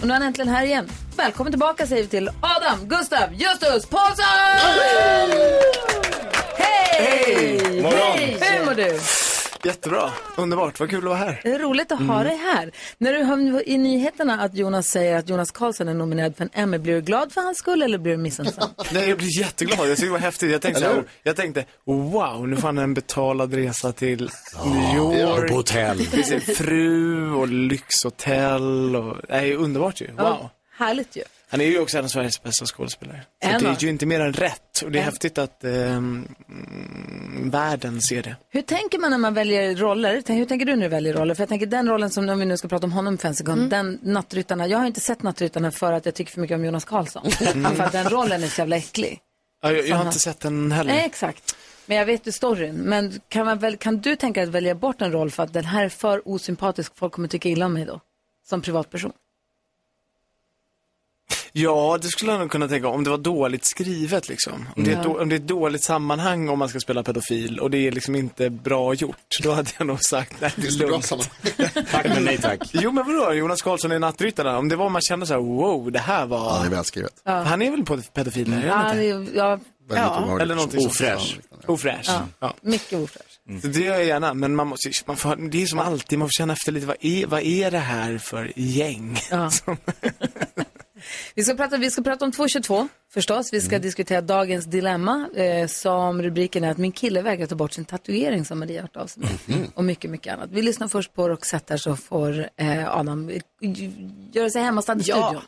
[SPEAKER 1] Och nu är han äntligen här igen. Välkommen tillbaka säger vi till Adam, Gustav, Justus, Paulsson! Hej!
[SPEAKER 7] Hej! Morgon.
[SPEAKER 1] Hur mår du?
[SPEAKER 7] Jättebra, underbart, vad kul att vara här.
[SPEAKER 1] Det är roligt att ha
[SPEAKER 7] Mm.
[SPEAKER 1] dig här. När du hör i nyheterna att Jonas säger att Jonas Karlsson är nominerad för en Emmy, blir du glad för hans skull eller blir du missunnsam?
[SPEAKER 7] Nej, jag blir jätteglad, jag tycker det var häftigt. Jag tänkte, så här, jag tänkte wow, nu får han en betald resa till New York.
[SPEAKER 3] och på hotell.
[SPEAKER 7] Med sin fru och lyxhotell. Och, nej, underbart ju. Wow.
[SPEAKER 1] Ja, härligt ju.
[SPEAKER 7] Han är ju också en av Sveriges bästa skådespelare. Så
[SPEAKER 1] En
[SPEAKER 7] det
[SPEAKER 1] av.
[SPEAKER 7] är ju inte mer än rätt. Och det är
[SPEAKER 1] En.
[SPEAKER 7] häftigt att ehm, mm, världen ser det.
[SPEAKER 1] Hur tänker man när man väljer roller? Tänk- Hur tänker du när du väljer roller? För jag tänker den rollen som, om vi nu ska prata om honom för en sekund, den Nattryttarna, jag har inte sett Nattryttarna för att jag tycker för mycket om Jonas Karlsson. För att den rollen är så jävla äcklig.
[SPEAKER 7] Ja, jag, jag har
[SPEAKER 1] Fan.
[SPEAKER 7] inte sett den heller.
[SPEAKER 1] Nej, exakt. Men jag vet ju storyn. Men kan, man väl, kan du tänka dig att välja bort en roll för att den här är för osympatisk, folk kommer tycka illa om mig då? Som privatperson.
[SPEAKER 7] Ja, det skulle jag nog kunna tänka om det var dåligt skrivet liksom. Om, det, är ett,
[SPEAKER 1] Ja.
[SPEAKER 7] då- om det är ett dåligt sammanhang om man ska spela pedofil och det är liksom inte bra gjort, då hade jag nog sagt nej, det är lugnt.
[SPEAKER 3] Tack men nej tack.
[SPEAKER 7] Jo men vadå, Jonas Karlsson i Nattryttarna, om det var man kände så här: wow, det här var... Han är välskrivet. Han är väl på pedofil nu, är han
[SPEAKER 1] Ja,
[SPEAKER 7] inte?
[SPEAKER 1] det- ja, ja.
[SPEAKER 7] Eller någonting sånt. Ofräsch.
[SPEAKER 1] Ja.
[SPEAKER 7] Ja.
[SPEAKER 1] Mycket ofräsch.
[SPEAKER 7] Så det gör jag gärna, men man måste, man får, det är som alltid, man får känna efter lite, vad är, vad är det här för gäng?
[SPEAKER 1] Ja. Vi ska prata, vi ska prata om 222 förstås. Vi ska diskutera dagens dilemma eh, som rubriken är att min kille vägrar ta bort sin tatuering som Maria hört av sig med. Och mycket, mycket annat. Vi lyssnar först på Roxette här så får eh, Adam eh, göra sig hemmastad i
[SPEAKER 11] Ja.
[SPEAKER 1] studion.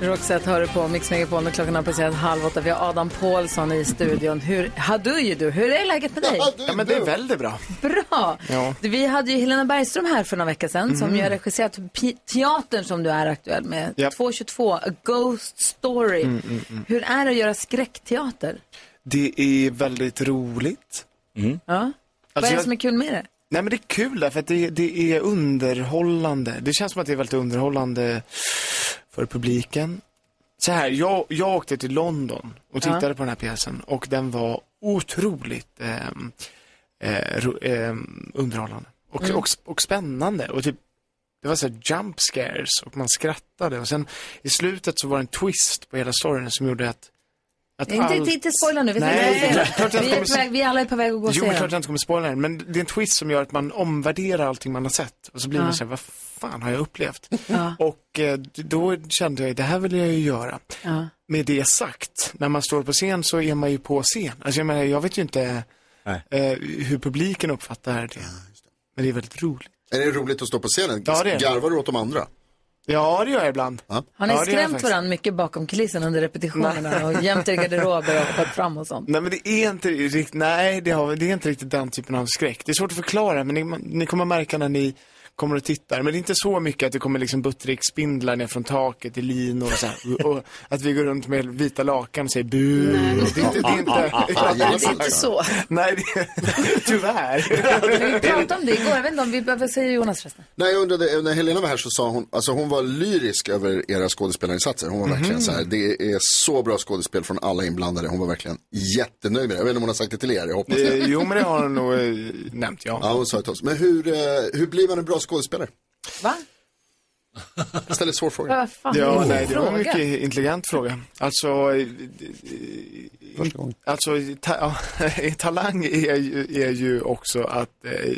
[SPEAKER 1] Roxette hör du på Mix Megapol när klockan har passerat halv åtta. Vi har Adam Paulsson i studion. Hur, hadu ju du, hur är läget med dig?
[SPEAKER 7] Ja men det är väldigt bra.
[SPEAKER 1] Bra!
[SPEAKER 7] Ja.
[SPEAKER 1] Vi hade ju Helena Bergström här för några veckor sedan som
[SPEAKER 7] Mhm.
[SPEAKER 1] ju har regisserat pi- teatern som du är aktuell med.
[SPEAKER 7] Japp.
[SPEAKER 1] 222, A Ghost Story.
[SPEAKER 7] Mm, mm, mm.
[SPEAKER 1] Hur är det att göra skräckteater?
[SPEAKER 7] Det är väldigt roligt.
[SPEAKER 1] Ja. Vad
[SPEAKER 7] Alltså,
[SPEAKER 1] är det
[SPEAKER 7] jag-
[SPEAKER 1] som är kul med det?
[SPEAKER 7] Nej men det är kul därför att det, det är underhållande. Det känns som att det är väldigt underhållande för publiken. Så här, jag, jag åkte till London och tittade
[SPEAKER 12] Ja.
[SPEAKER 7] på den här pjäsen och den var otroligt ehm, eh, ro, ehm, underhållande. Och,
[SPEAKER 12] Mm.
[SPEAKER 7] och, och spännande och typ det var så här jump scares och man skrattade och sen i slutet så var det en twist på hela storyn som gjorde att, att
[SPEAKER 1] Inte,
[SPEAKER 7] allt-
[SPEAKER 1] inte, inte spoila nu, vi,
[SPEAKER 7] Nej,
[SPEAKER 1] Nej,
[SPEAKER 7] det är klart- klart jag
[SPEAKER 1] vi,
[SPEAKER 7] inte
[SPEAKER 1] är
[SPEAKER 7] kommer
[SPEAKER 1] på väg, vi alla är på väg att gå och
[SPEAKER 7] Jo, det är
[SPEAKER 1] se
[SPEAKER 7] klart
[SPEAKER 1] den.
[SPEAKER 7] jag inte kommer spoila den, men det är en twist som gör att man omvärderar allting man har sett. Och så blir
[SPEAKER 1] Ja.
[SPEAKER 7] man så här, vad fan har jag upplevt?
[SPEAKER 1] Ja.
[SPEAKER 7] Och eh, då kände jag, det här vill jag ju göra.
[SPEAKER 1] Ja.
[SPEAKER 7] Med det sagt, när man står på scen så är man ju på scen. Alltså jag menar, jag vet ju inte eh, hur publiken Ah, uppfattar det. Men det är väldigt roligt.
[SPEAKER 2] Är det roligt att stå på scenen?
[SPEAKER 7] Ja, det är det.
[SPEAKER 2] Garvar du åt de andra?
[SPEAKER 7] Ja, det gör jag ibland.
[SPEAKER 1] Har ni
[SPEAKER 7] ja, det gör jag
[SPEAKER 1] skrämt
[SPEAKER 7] faktiskt.
[SPEAKER 1] varandra mycket bakom kulisserna under repetitionerna och jämt er i garderober och hoppat fram och sånt?
[SPEAKER 7] Nej, men det är inte riktigt, nej, det, har, det är inte riktigt den typen av skräck. Det är svårt att förklara, men ni, ni kommer märka när ni kommer och tittar. Men det är inte så mycket att det kommer liksom buttrickspindlar ner från taket i linor och så här, och att vi går runt med vita lakan och säger bu. Det är inte, det är inte,
[SPEAKER 4] Det är inte så.
[SPEAKER 7] Nej, det, tyvärr.
[SPEAKER 1] Vi pratade om det igår, jag vet inte om vi behöver säga Jonas förresten.
[SPEAKER 2] Nej, jag undrade, när Helena var här så sa hon, alltså hon var lyrisk över era skådespelarinsatser. Hon var verkligen
[SPEAKER 7] Mhm.
[SPEAKER 2] så här, det är så bra skådespel från alla inblandade. Hon var verkligen jättenöjd med det. Jag vet inte om hon har sagt det till er, jag hoppas det.
[SPEAKER 7] Eh, jo, men det har hon nog eh, nämnt, ja.
[SPEAKER 2] Ja, hon sa det till oss. Men hur, eh, hur blir man en bra skådespelare?
[SPEAKER 1] Va?
[SPEAKER 2] Jag ställer en svår fråga.
[SPEAKER 1] Vad fan är det
[SPEAKER 7] Ja,
[SPEAKER 1] för
[SPEAKER 7] nej, det var en
[SPEAKER 1] fråga?
[SPEAKER 7] mycket intelligent fråga. Alltså, eh, eh, alltså ta, ja, talang är ju, är ju också att, eh,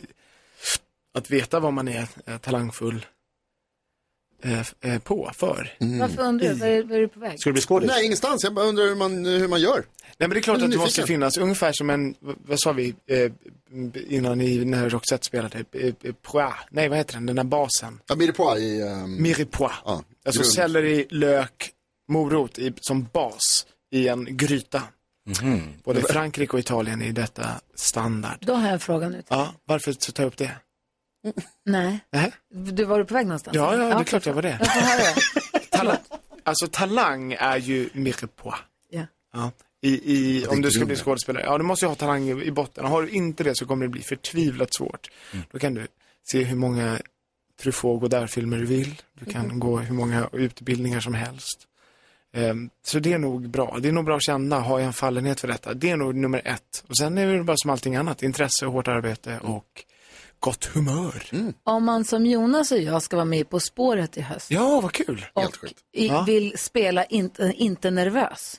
[SPEAKER 7] att veta vad man är eh, talangfull eh, f- eh, på, för.
[SPEAKER 1] Varför undrar du? Var är, var är du på väg?
[SPEAKER 2] Nej, ingenstans. Jag bara undrar hur man, hur man gör.
[SPEAKER 7] Nej men det är klart
[SPEAKER 2] Jag är
[SPEAKER 7] att det
[SPEAKER 2] nyfiken.
[SPEAKER 7] måste finnas ungefär som en, vad, vad sa vi eh, b- innan i, när Roxette spelade, eh, eh, pois, nej vad heter den, den där basen?
[SPEAKER 2] Ja, mirepoix i... Um...
[SPEAKER 7] Mirepoix. Alltså
[SPEAKER 2] grund.
[SPEAKER 7] selleri, lök, morot i, som bas i en gryta. Både Frankrike och Italien är detta standard.
[SPEAKER 1] Då har jag en fråga nu.
[SPEAKER 7] Ja, varför så ta upp det?
[SPEAKER 1] Nej.
[SPEAKER 7] Nej.
[SPEAKER 1] Du var du på väg någonstans?
[SPEAKER 7] Ja, ja, det är klart jag var det.
[SPEAKER 1] Jag får höra.
[SPEAKER 7] Talang, alltså talang är ju mirepoix.
[SPEAKER 1] Ja.
[SPEAKER 7] Ja. I, i,
[SPEAKER 5] är
[SPEAKER 7] om du ska bli
[SPEAKER 5] grunden.
[SPEAKER 7] skådespelare, ja du måste ju ha talang i i botten. Har du inte det så kommer det bli förtvivlat svårt. Då kan du se hur många Truffaut och där-filmer du vill. Du kan
[SPEAKER 5] Mhm.
[SPEAKER 7] gå hur många utbildningar som helst. Ehm, så det är nog bra. Det är nog bra att känna, har jag en fallenhet för detta? Det är nog nummer ett. Och sen är det bara som allting annat, intresse, hårt arbete och gott humör.
[SPEAKER 1] Om man som Jonas och jag ska vara med På spåret i höst
[SPEAKER 7] Ja, vad kul.
[SPEAKER 1] och i,
[SPEAKER 7] Ja.
[SPEAKER 1] vill spela inte, inte nervös.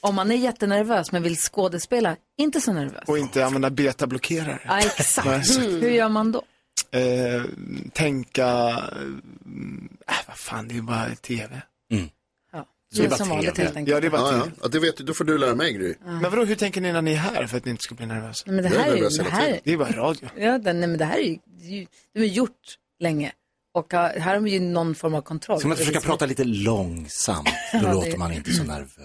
[SPEAKER 1] Om man är jättenervös men vill skådespela inte så nervös.
[SPEAKER 7] Och inte använda betablockerare.
[SPEAKER 1] Ja, exakt. Mm.
[SPEAKER 7] Nej, exakt.
[SPEAKER 1] Hur gör man då?
[SPEAKER 7] Eh, tänka, mm, äh, vad fan det är ju bara tv.
[SPEAKER 1] Ja, det är som vanligt helt enkelt.
[SPEAKER 7] Ja, det är bara
[SPEAKER 2] Ja,
[SPEAKER 7] tv.
[SPEAKER 2] ja. Det vet, du, då får du lära mig, Gry.
[SPEAKER 7] Men vadå, hur tänker ni när ni är här för att ni inte ska bli nervösa?
[SPEAKER 1] Men det Jag är här är ju- nervös det hela här- tiden.
[SPEAKER 7] Det är bara radio.
[SPEAKER 1] Ja, den, nej, men det här är ju, det är ju det är gjort länge. Och har- här har vi ju någon form av kontroll.
[SPEAKER 3] Ska man
[SPEAKER 1] Det är
[SPEAKER 3] försöka
[SPEAKER 1] liksom-
[SPEAKER 3] prata lite långsamt?
[SPEAKER 1] Ja,
[SPEAKER 3] Då
[SPEAKER 1] det-
[SPEAKER 3] låter man inte så nervös.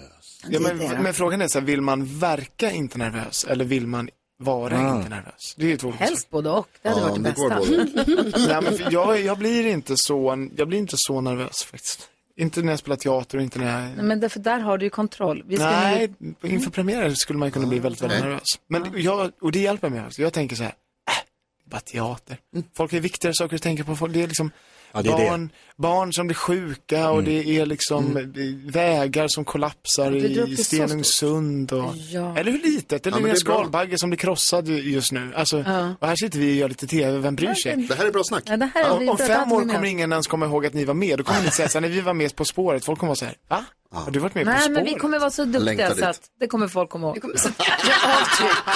[SPEAKER 7] Ja, men,
[SPEAKER 1] Det är det.
[SPEAKER 7] men frågan är så här, vill man verka inte nervös eller vill man vara
[SPEAKER 3] Ah.
[SPEAKER 7] inte nervös? Det är ju två olika
[SPEAKER 1] Helst både och. Det hade
[SPEAKER 7] Ja,
[SPEAKER 1] varit det
[SPEAKER 7] det går
[SPEAKER 1] bästa.
[SPEAKER 7] saker. Nej, men för jag, jag, blir inte så, jag blir inte så nervös faktiskt. Inte när jag spelar teater och inte när jag
[SPEAKER 1] Nej, men därför där har du ju kontroll. Vi ska
[SPEAKER 7] Nej,
[SPEAKER 1] nu-
[SPEAKER 7] inför premiären skulle man kunna bli väldigt, väldigt
[SPEAKER 1] Nej.
[SPEAKER 7] nervös. Men jag, och det hjälper mig också. Jag tänker så här, äh, det är bara teater.
[SPEAKER 1] Mm.
[SPEAKER 7] Folk har viktigare saker att tänka på. Folk- Det är liksom
[SPEAKER 3] Ja, det är
[SPEAKER 7] barn, barn som blir sjuka
[SPEAKER 5] Mm.
[SPEAKER 7] och det är liksom eh, vägar som kollapsar
[SPEAKER 5] Ja, det drar upp
[SPEAKER 7] i
[SPEAKER 5] till så stort.
[SPEAKER 7] Stenungsund. Och,
[SPEAKER 5] Ja.
[SPEAKER 7] Eller hur litet,
[SPEAKER 5] Ja,
[SPEAKER 7] eller
[SPEAKER 5] men
[SPEAKER 7] ja, en
[SPEAKER 5] det är bra.
[SPEAKER 7] skalbagge som blir krossad ju- just nu. Alltså,
[SPEAKER 1] Ja.
[SPEAKER 7] Och här sitter vi och gör lite tv, vem bryr sig?
[SPEAKER 2] Det här är bra snack.
[SPEAKER 1] Ja, det här har vi
[SPEAKER 7] om, om
[SPEAKER 1] pratat
[SPEAKER 7] fem
[SPEAKER 1] med
[SPEAKER 7] år
[SPEAKER 1] mig om.
[SPEAKER 7] kommer ingen ens komma ihåg att ni var med. Då kommer ni säga så här, när vi var med På spåret, folk kommer vara så här, va? Har du varit med På
[SPEAKER 1] Nej,
[SPEAKER 7] spåret?
[SPEAKER 1] men vi kommer vara så duktiga
[SPEAKER 7] Längtar
[SPEAKER 1] så
[SPEAKER 7] dit.
[SPEAKER 1] att det kommer folk komma ihåg.
[SPEAKER 3] Kommer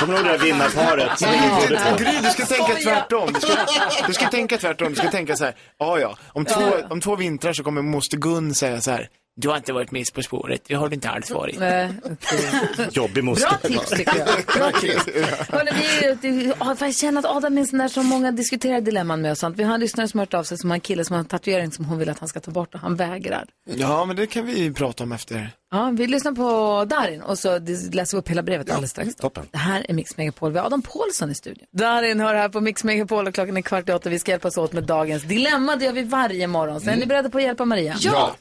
[SPEAKER 3] du ihåg det där vinnarparet? som vi gjorde
[SPEAKER 7] Ja,
[SPEAKER 3] på?
[SPEAKER 7] Gry, du ska tänka tvärtom. Du ska, du ska tänka tvärtom. Du ska tänka så här, ja ja, om två,
[SPEAKER 1] Ja, ja.
[SPEAKER 7] om två vintrar så kommer moster Gun säga så här, du har inte varit med På spåret, det har du inte alls varit.
[SPEAKER 1] Nej.
[SPEAKER 3] Jobbig moster.
[SPEAKER 1] Bra tips tycker jag. Bra tips. Hörrni, vi, är ute i- ja, för jag känner att Adam är en sån där som många diskuterar dilemman med och sånt. Vi har en lyssnare som har hört av sig som har en kille som har en tatuering som hon vill att han ska ta bort och han vägrar.
[SPEAKER 7] Ja, men det kan vi ju prata om efter.
[SPEAKER 1] Ja, vi lyssnar på Darin och så läser vi upp hela brevet alldeles strax. Toppen. Det här är Mix Megapol. Vi har Adam Paulsson i studion. Darin hör här på Mix Megapol och klockan är kvart i åtta. Vi ska hjälpas åt med dagens dilemma. Det gör vi varje morgon. Så är ni beredda på att hjälpa Maria?
[SPEAKER 12] Ja.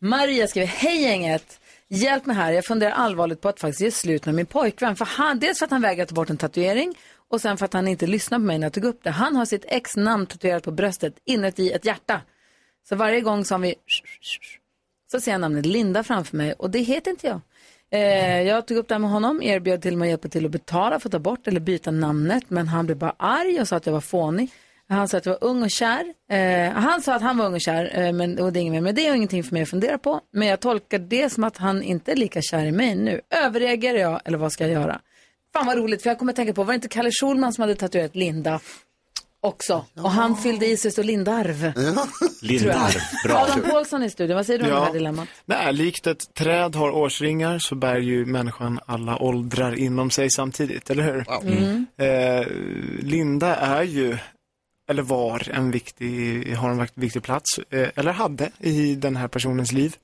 [SPEAKER 1] Maria skriver, hej gänget. Hjälp mig här, jag funderar allvarligt på att faktiskt ge slut med min pojkvän. För han, dels för att han vägrar ta bort en tatuering och sen för att han inte lyssnar på mig när jag tog upp det. Han har sitt ex namn tatuerat på bröstet inuti ett hjärta. Så varje gång som vi så ser jag namnet Linda framför mig och det heter inte jag. Eh, jag tog upp det här med honom, erbjöd till mig att hjälpa till att betala för att ta bort eller byta namnet, men han blev bara arg och sa att jag var fånig. Han sa att jag var ung och kär. Eh, han sa att han var ung och kär, eh, men, och det är inget mer med det och ingenting för mig att fundera på. Men jag tolkar det som att han inte är lika kär i mig nu. Överreagerar jag eller vad ska jag göra? Fan vad roligt, för jag kommer att tänka på, var det inte Kalle Schulman som hade tatuerat Linda också? Och han fyllde i sig så Lindarv.
[SPEAKER 7] Lindar,
[SPEAKER 1] Adam Paulsson i studion, vad säger du om
[SPEAKER 7] Ja.
[SPEAKER 1] det här dilemmat?
[SPEAKER 7] Nej, likt ett träd har årsringar så bär ju människan alla åldrar inom sig samtidigt, eller hur?
[SPEAKER 1] Mm.
[SPEAKER 7] Eh, Linda är ju eller var en viktig, har en vakt- viktig plats, eh, eller hade i den här personens liv.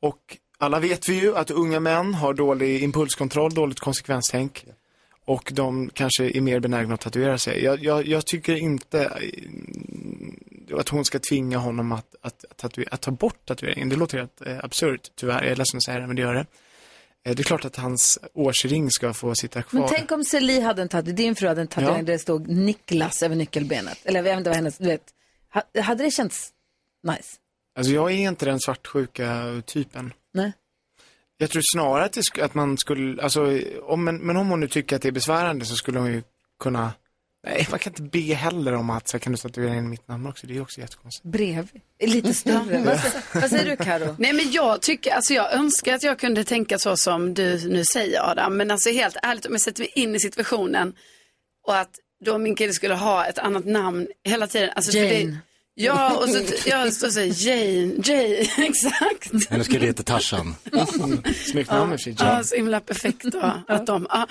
[SPEAKER 7] Och alla vet vi ju att unga män har dålig impulskontroll, dåligt konsekvenstänk. Och de kanske är mer benägna att tatuera sig. Jag, jag, jag tycker inte eh, att hon ska tvinga honom att, att, att, tatu- att ta bort tatueringen. Det låter helt eh, absurt tyvärr, jag är ledsen att säga det, men det gör det. Eh, det är klart att hans årsring ska få sitta kvar.
[SPEAKER 1] Men tänk om Celie hade en tatuering, din fru hade en tatuering
[SPEAKER 7] Ja.
[SPEAKER 1] där det stod Niklas över nyckelbenet. Eller jag vet inte vad hennes, du vet. Ha- Hade det känts nice?
[SPEAKER 7] Alltså jag är inte den svartsjuka typen.
[SPEAKER 1] Nej.
[SPEAKER 7] Jag tror snarare att, det sk- att man skulle, alltså, om, men, men om hon nu tycker att det är besvärande så skulle hon ju kunna, nej man kan inte be heller om att, så här, kan du tatuera in mitt namn också, det är också jättekonstigt.
[SPEAKER 1] Bredvid. Lite större. vad, sä- vad säger du Karo?
[SPEAKER 4] Nej men jag tycker, alltså jag önskar att jag kunde tänka så som du nu säger Adam. Men alltså helt ärligt om jag sätter mig in i situationen och att då min kille skulle ha ett annat namn hela tiden. Alltså, för
[SPEAKER 1] Jane.
[SPEAKER 4] Det, ja, och så jag står och säger Jane, Jane, exakt.
[SPEAKER 3] Men nu ska det heta Tarzan.
[SPEAKER 7] Snyggt namn i och för sig,
[SPEAKER 4] Ja, så himla perfekt då. Att de, ja,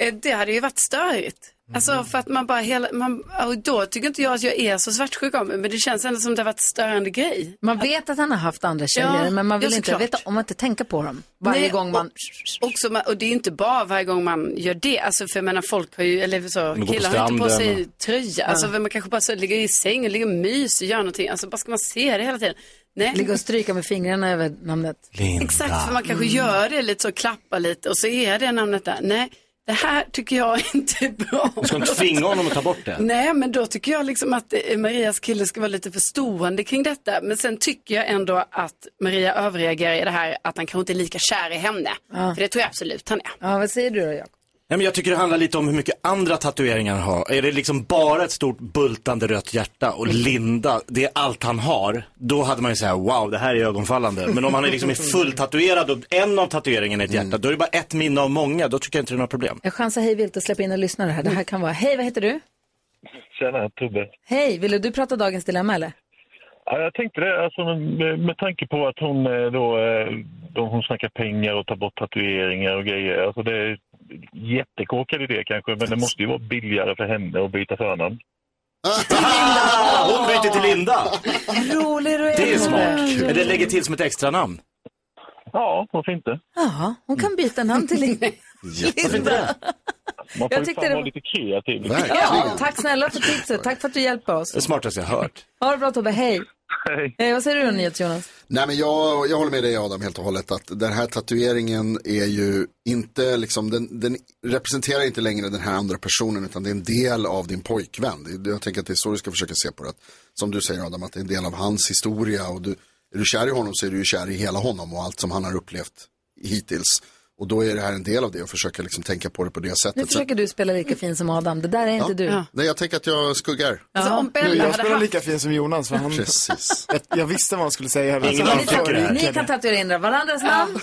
[SPEAKER 4] Eh, det hade ju varit störigt.
[SPEAKER 7] Mm.
[SPEAKER 4] Alltså för att man bara hela, man, och då tycker inte jag att jag är så svartsjuk om det, men det känns ändå som det har varit störande grej.
[SPEAKER 1] Man vet att han har haft andra tjejer,
[SPEAKER 4] Ja,
[SPEAKER 1] men man vill
[SPEAKER 4] ja,
[SPEAKER 1] inte
[SPEAKER 4] såklart.
[SPEAKER 1] veta, om man inte tänker på dem. Varje
[SPEAKER 4] Nej,
[SPEAKER 1] gång man...
[SPEAKER 4] Och, också, man- och det är inte bara varje gång man gör det. Alltså för jag menar folk har ju, eller så,
[SPEAKER 1] går på
[SPEAKER 4] killar har inte på
[SPEAKER 1] stranden
[SPEAKER 4] sig tröja. Alltså för man kanske bara så ligger i sängen, ligger och myser, gör någonting. Alltså bara ska man se det hela tiden? Nej.
[SPEAKER 1] Ligga och Mm. stryka med fingrarna över namnet.
[SPEAKER 4] Exakt, för man kanske gör det lite så, klappar lite och så är det namnet där. Nej, det här tycker jag inte är bra.
[SPEAKER 3] Du ska inte tvinga honom att ta bort det.
[SPEAKER 4] Nej, men då tycker jag liksom att eh, Marias kille ska vara lite förstående kring detta. Men sen tycker jag ändå att Maria överreagerar i det här att han kanske inte är lika kär i henne.
[SPEAKER 1] Ja.
[SPEAKER 4] För det tror jag absolut han är.
[SPEAKER 1] Ja, vad säger du då, Jakob?
[SPEAKER 3] Nej, men jag tycker det handlar lite om hur mycket andra tatueringar han har. Är det liksom bara ett stort bultande rött hjärta och linda, det är allt han har. Då hade man ju såhär, wow det här är ögonfallande. Men om han är liksom är fulltatuerad och en av tatueringarna är ett hjärta, då är det bara ett minne av många. Då tycker jag inte det är några problem.
[SPEAKER 1] Jag chansar hej vilt och släpper in en lyssnare här. Det här kan vara, hej vad heter du?
[SPEAKER 12] Tjena, Tobbe.
[SPEAKER 1] Hej, ville du prata dagens dilemma eller?
[SPEAKER 12] Ja, jag tänkte det, alltså, med, med tanke på att hon eh, då, eh, då hon snackar pengar och tar bort tatueringar och grejer. Alltså, det är jättekåkad idé kanske, men det måste ju vara billigare för henne att byta förnamn.
[SPEAKER 3] Ah, hon byter till Linda!
[SPEAKER 1] Rolig du
[SPEAKER 3] Det är smart. Eller lägger till som ett extra namn.
[SPEAKER 12] Ja, varför inte?
[SPEAKER 1] Jaha, hon kan byta namn till Linda. Linda.
[SPEAKER 12] Man
[SPEAKER 1] Jag
[SPEAKER 12] får ju
[SPEAKER 1] tyckte
[SPEAKER 12] fan
[SPEAKER 1] det
[SPEAKER 12] vara
[SPEAKER 1] var-
[SPEAKER 12] lite kreativ.
[SPEAKER 1] Ja, tack snälla för tipset, tack för att du hjälper oss.
[SPEAKER 3] Det smartaste jag hört.
[SPEAKER 1] Ha det bra Tobbe, hej.
[SPEAKER 12] Hej.
[SPEAKER 1] Eh, vad säger du då NyhetsJonas?
[SPEAKER 2] Nej, men jag, jag håller med dig Adam helt och hållet att den här tatueringen är ju inte liksom, den, den representerar inte längre den här andra personen utan det är en del av din pojkvän. Det- Jag tänker att det är så du ska försöka se på det. Att, som du säger Adam, att det är en del av hans historia och du, är du kär i honom så är du ju kär i hela honom och allt som han har upplevt hittills. Och då är det här en del av det och försöka liksom tänka på det på det sättet.
[SPEAKER 1] Nu försöker du spela lika fin som Adam, det där är
[SPEAKER 2] Ja.
[SPEAKER 1] inte du.
[SPEAKER 2] Nej, jag tänker att jag skuggar.
[SPEAKER 1] Alltså, om Bella
[SPEAKER 7] Nu, jag
[SPEAKER 1] hade
[SPEAKER 7] spelar
[SPEAKER 1] haft-
[SPEAKER 7] lika fin som Jonas, för han...
[SPEAKER 2] Precis.
[SPEAKER 7] Jag, jag visste vad han skulle säga.
[SPEAKER 2] Ingen
[SPEAKER 7] han
[SPEAKER 2] annan tycker det här.
[SPEAKER 1] Ni kan tatuera in varandras namn.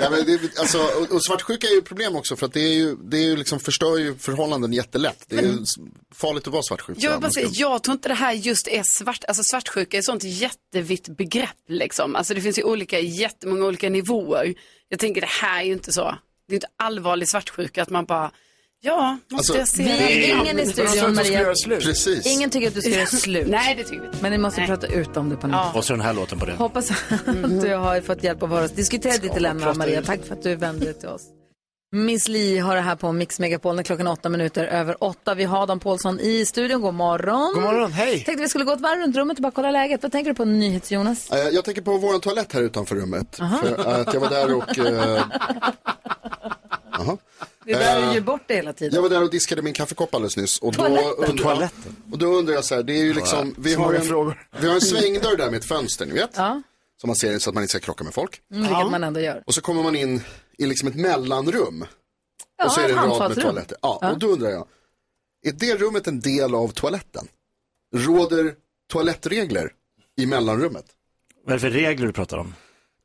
[SPEAKER 2] Ja, men det, alltså, och, och svartsjuka är ju ett problem också för att det, är ju, det är ju liksom, förstör ju förhållanden jättelätt. Det är ju s- farligt att vara svartsjuk.
[SPEAKER 4] Jag, vill bara säga,
[SPEAKER 2] Man ska-
[SPEAKER 4] jag tror inte det här just är svart, alltså svartsjuka är ett sånt jättevitt begrepp liksom. Alltså det finns ju olika, jättemånga olika nivåer. Jag tänker det här är ju inte så, det är ju inte allvarlig svartsjuka att man bara, ja,
[SPEAKER 1] Alltså,
[SPEAKER 4] måste jag se
[SPEAKER 1] vi-
[SPEAKER 4] det?
[SPEAKER 1] ingen i studion, Maria.
[SPEAKER 2] Precis.
[SPEAKER 1] Ingen tycker att du ska göra slut.
[SPEAKER 4] Nej, det tycker vi inte.
[SPEAKER 1] Men ni måste prata ut om det på något
[SPEAKER 4] Ja.
[SPEAKER 3] Och så den här låten på det.
[SPEAKER 1] Hoppas att du har fått hjälp av oss. Diskutera ditt dilemma,
[SPEAKER 3] prata
[SPEAKER 1] Maria.
[SPEAKER 3] ut.
[SPEAKER 1] Tack för att du vände dig till oss. Miss Li har det här på Mix Megapol när klockan är åtta minuter över åtta. Vi har Adam Pålsson i studion. God morgon.
[SPEAKER 2] God morgon, hej.
[SPEAKER 1] Tänkte vi skulle gå ett varv runt rummet och bara kolla läget. Vad tänker du på NyhetsJonas?
[SPEAKER 2] Eh, Jag tänker på vår toalett här utanför rummet. För att jag var där och... eh, Jaha.
[SPEAKER 1] Det är där
[SPEAKER 2] Eh,
[SPEAKER 1] du gör bort det hela tiden.
[SPEAKER 2] Jag var där och diskade min kaffekopp alldeles nyss. Och då
[SPEAKER 1] Toaletten?
[SPEAKER 2] undrar,
[SPEAKER 1] Toaletten?
[SPEAKER 2] Och då undrar jag så här, det är ju liksom, vi har,
[SPEAKER 7] Smarta
[SPEAKER 2] en,
[SPEAKER 7] frågor.
[SPEAKER 2] vi har en svängdörr där med ett fönster, ni vet.
[SPEAKER 1] Ja.
[SPEAKER 2] Som man ser så att man inte ska krocka med folk.
[SPEAKER 1] Mm, vilket man ändå gör.
[SPEAKER 2] Och så kommer man in i liksom ett mellanrum.
[SPEAKER 1] Ja,
[SPEAKER 2] och så är det
[SPEAKER 1] ett
[SPEAKER 2] en rad med
[SPEAKER 1] handfatsrum.
[SPEAKER 2] toaletter. Ja,
[SPEAKER 1] Ja.
[SPEAKER 2] Och då undrar jag, är det rummet en del av toaletten? Råder toalettregler i mellanrummet?
[SPEAKER 3] Vad är det för regler du pratar om?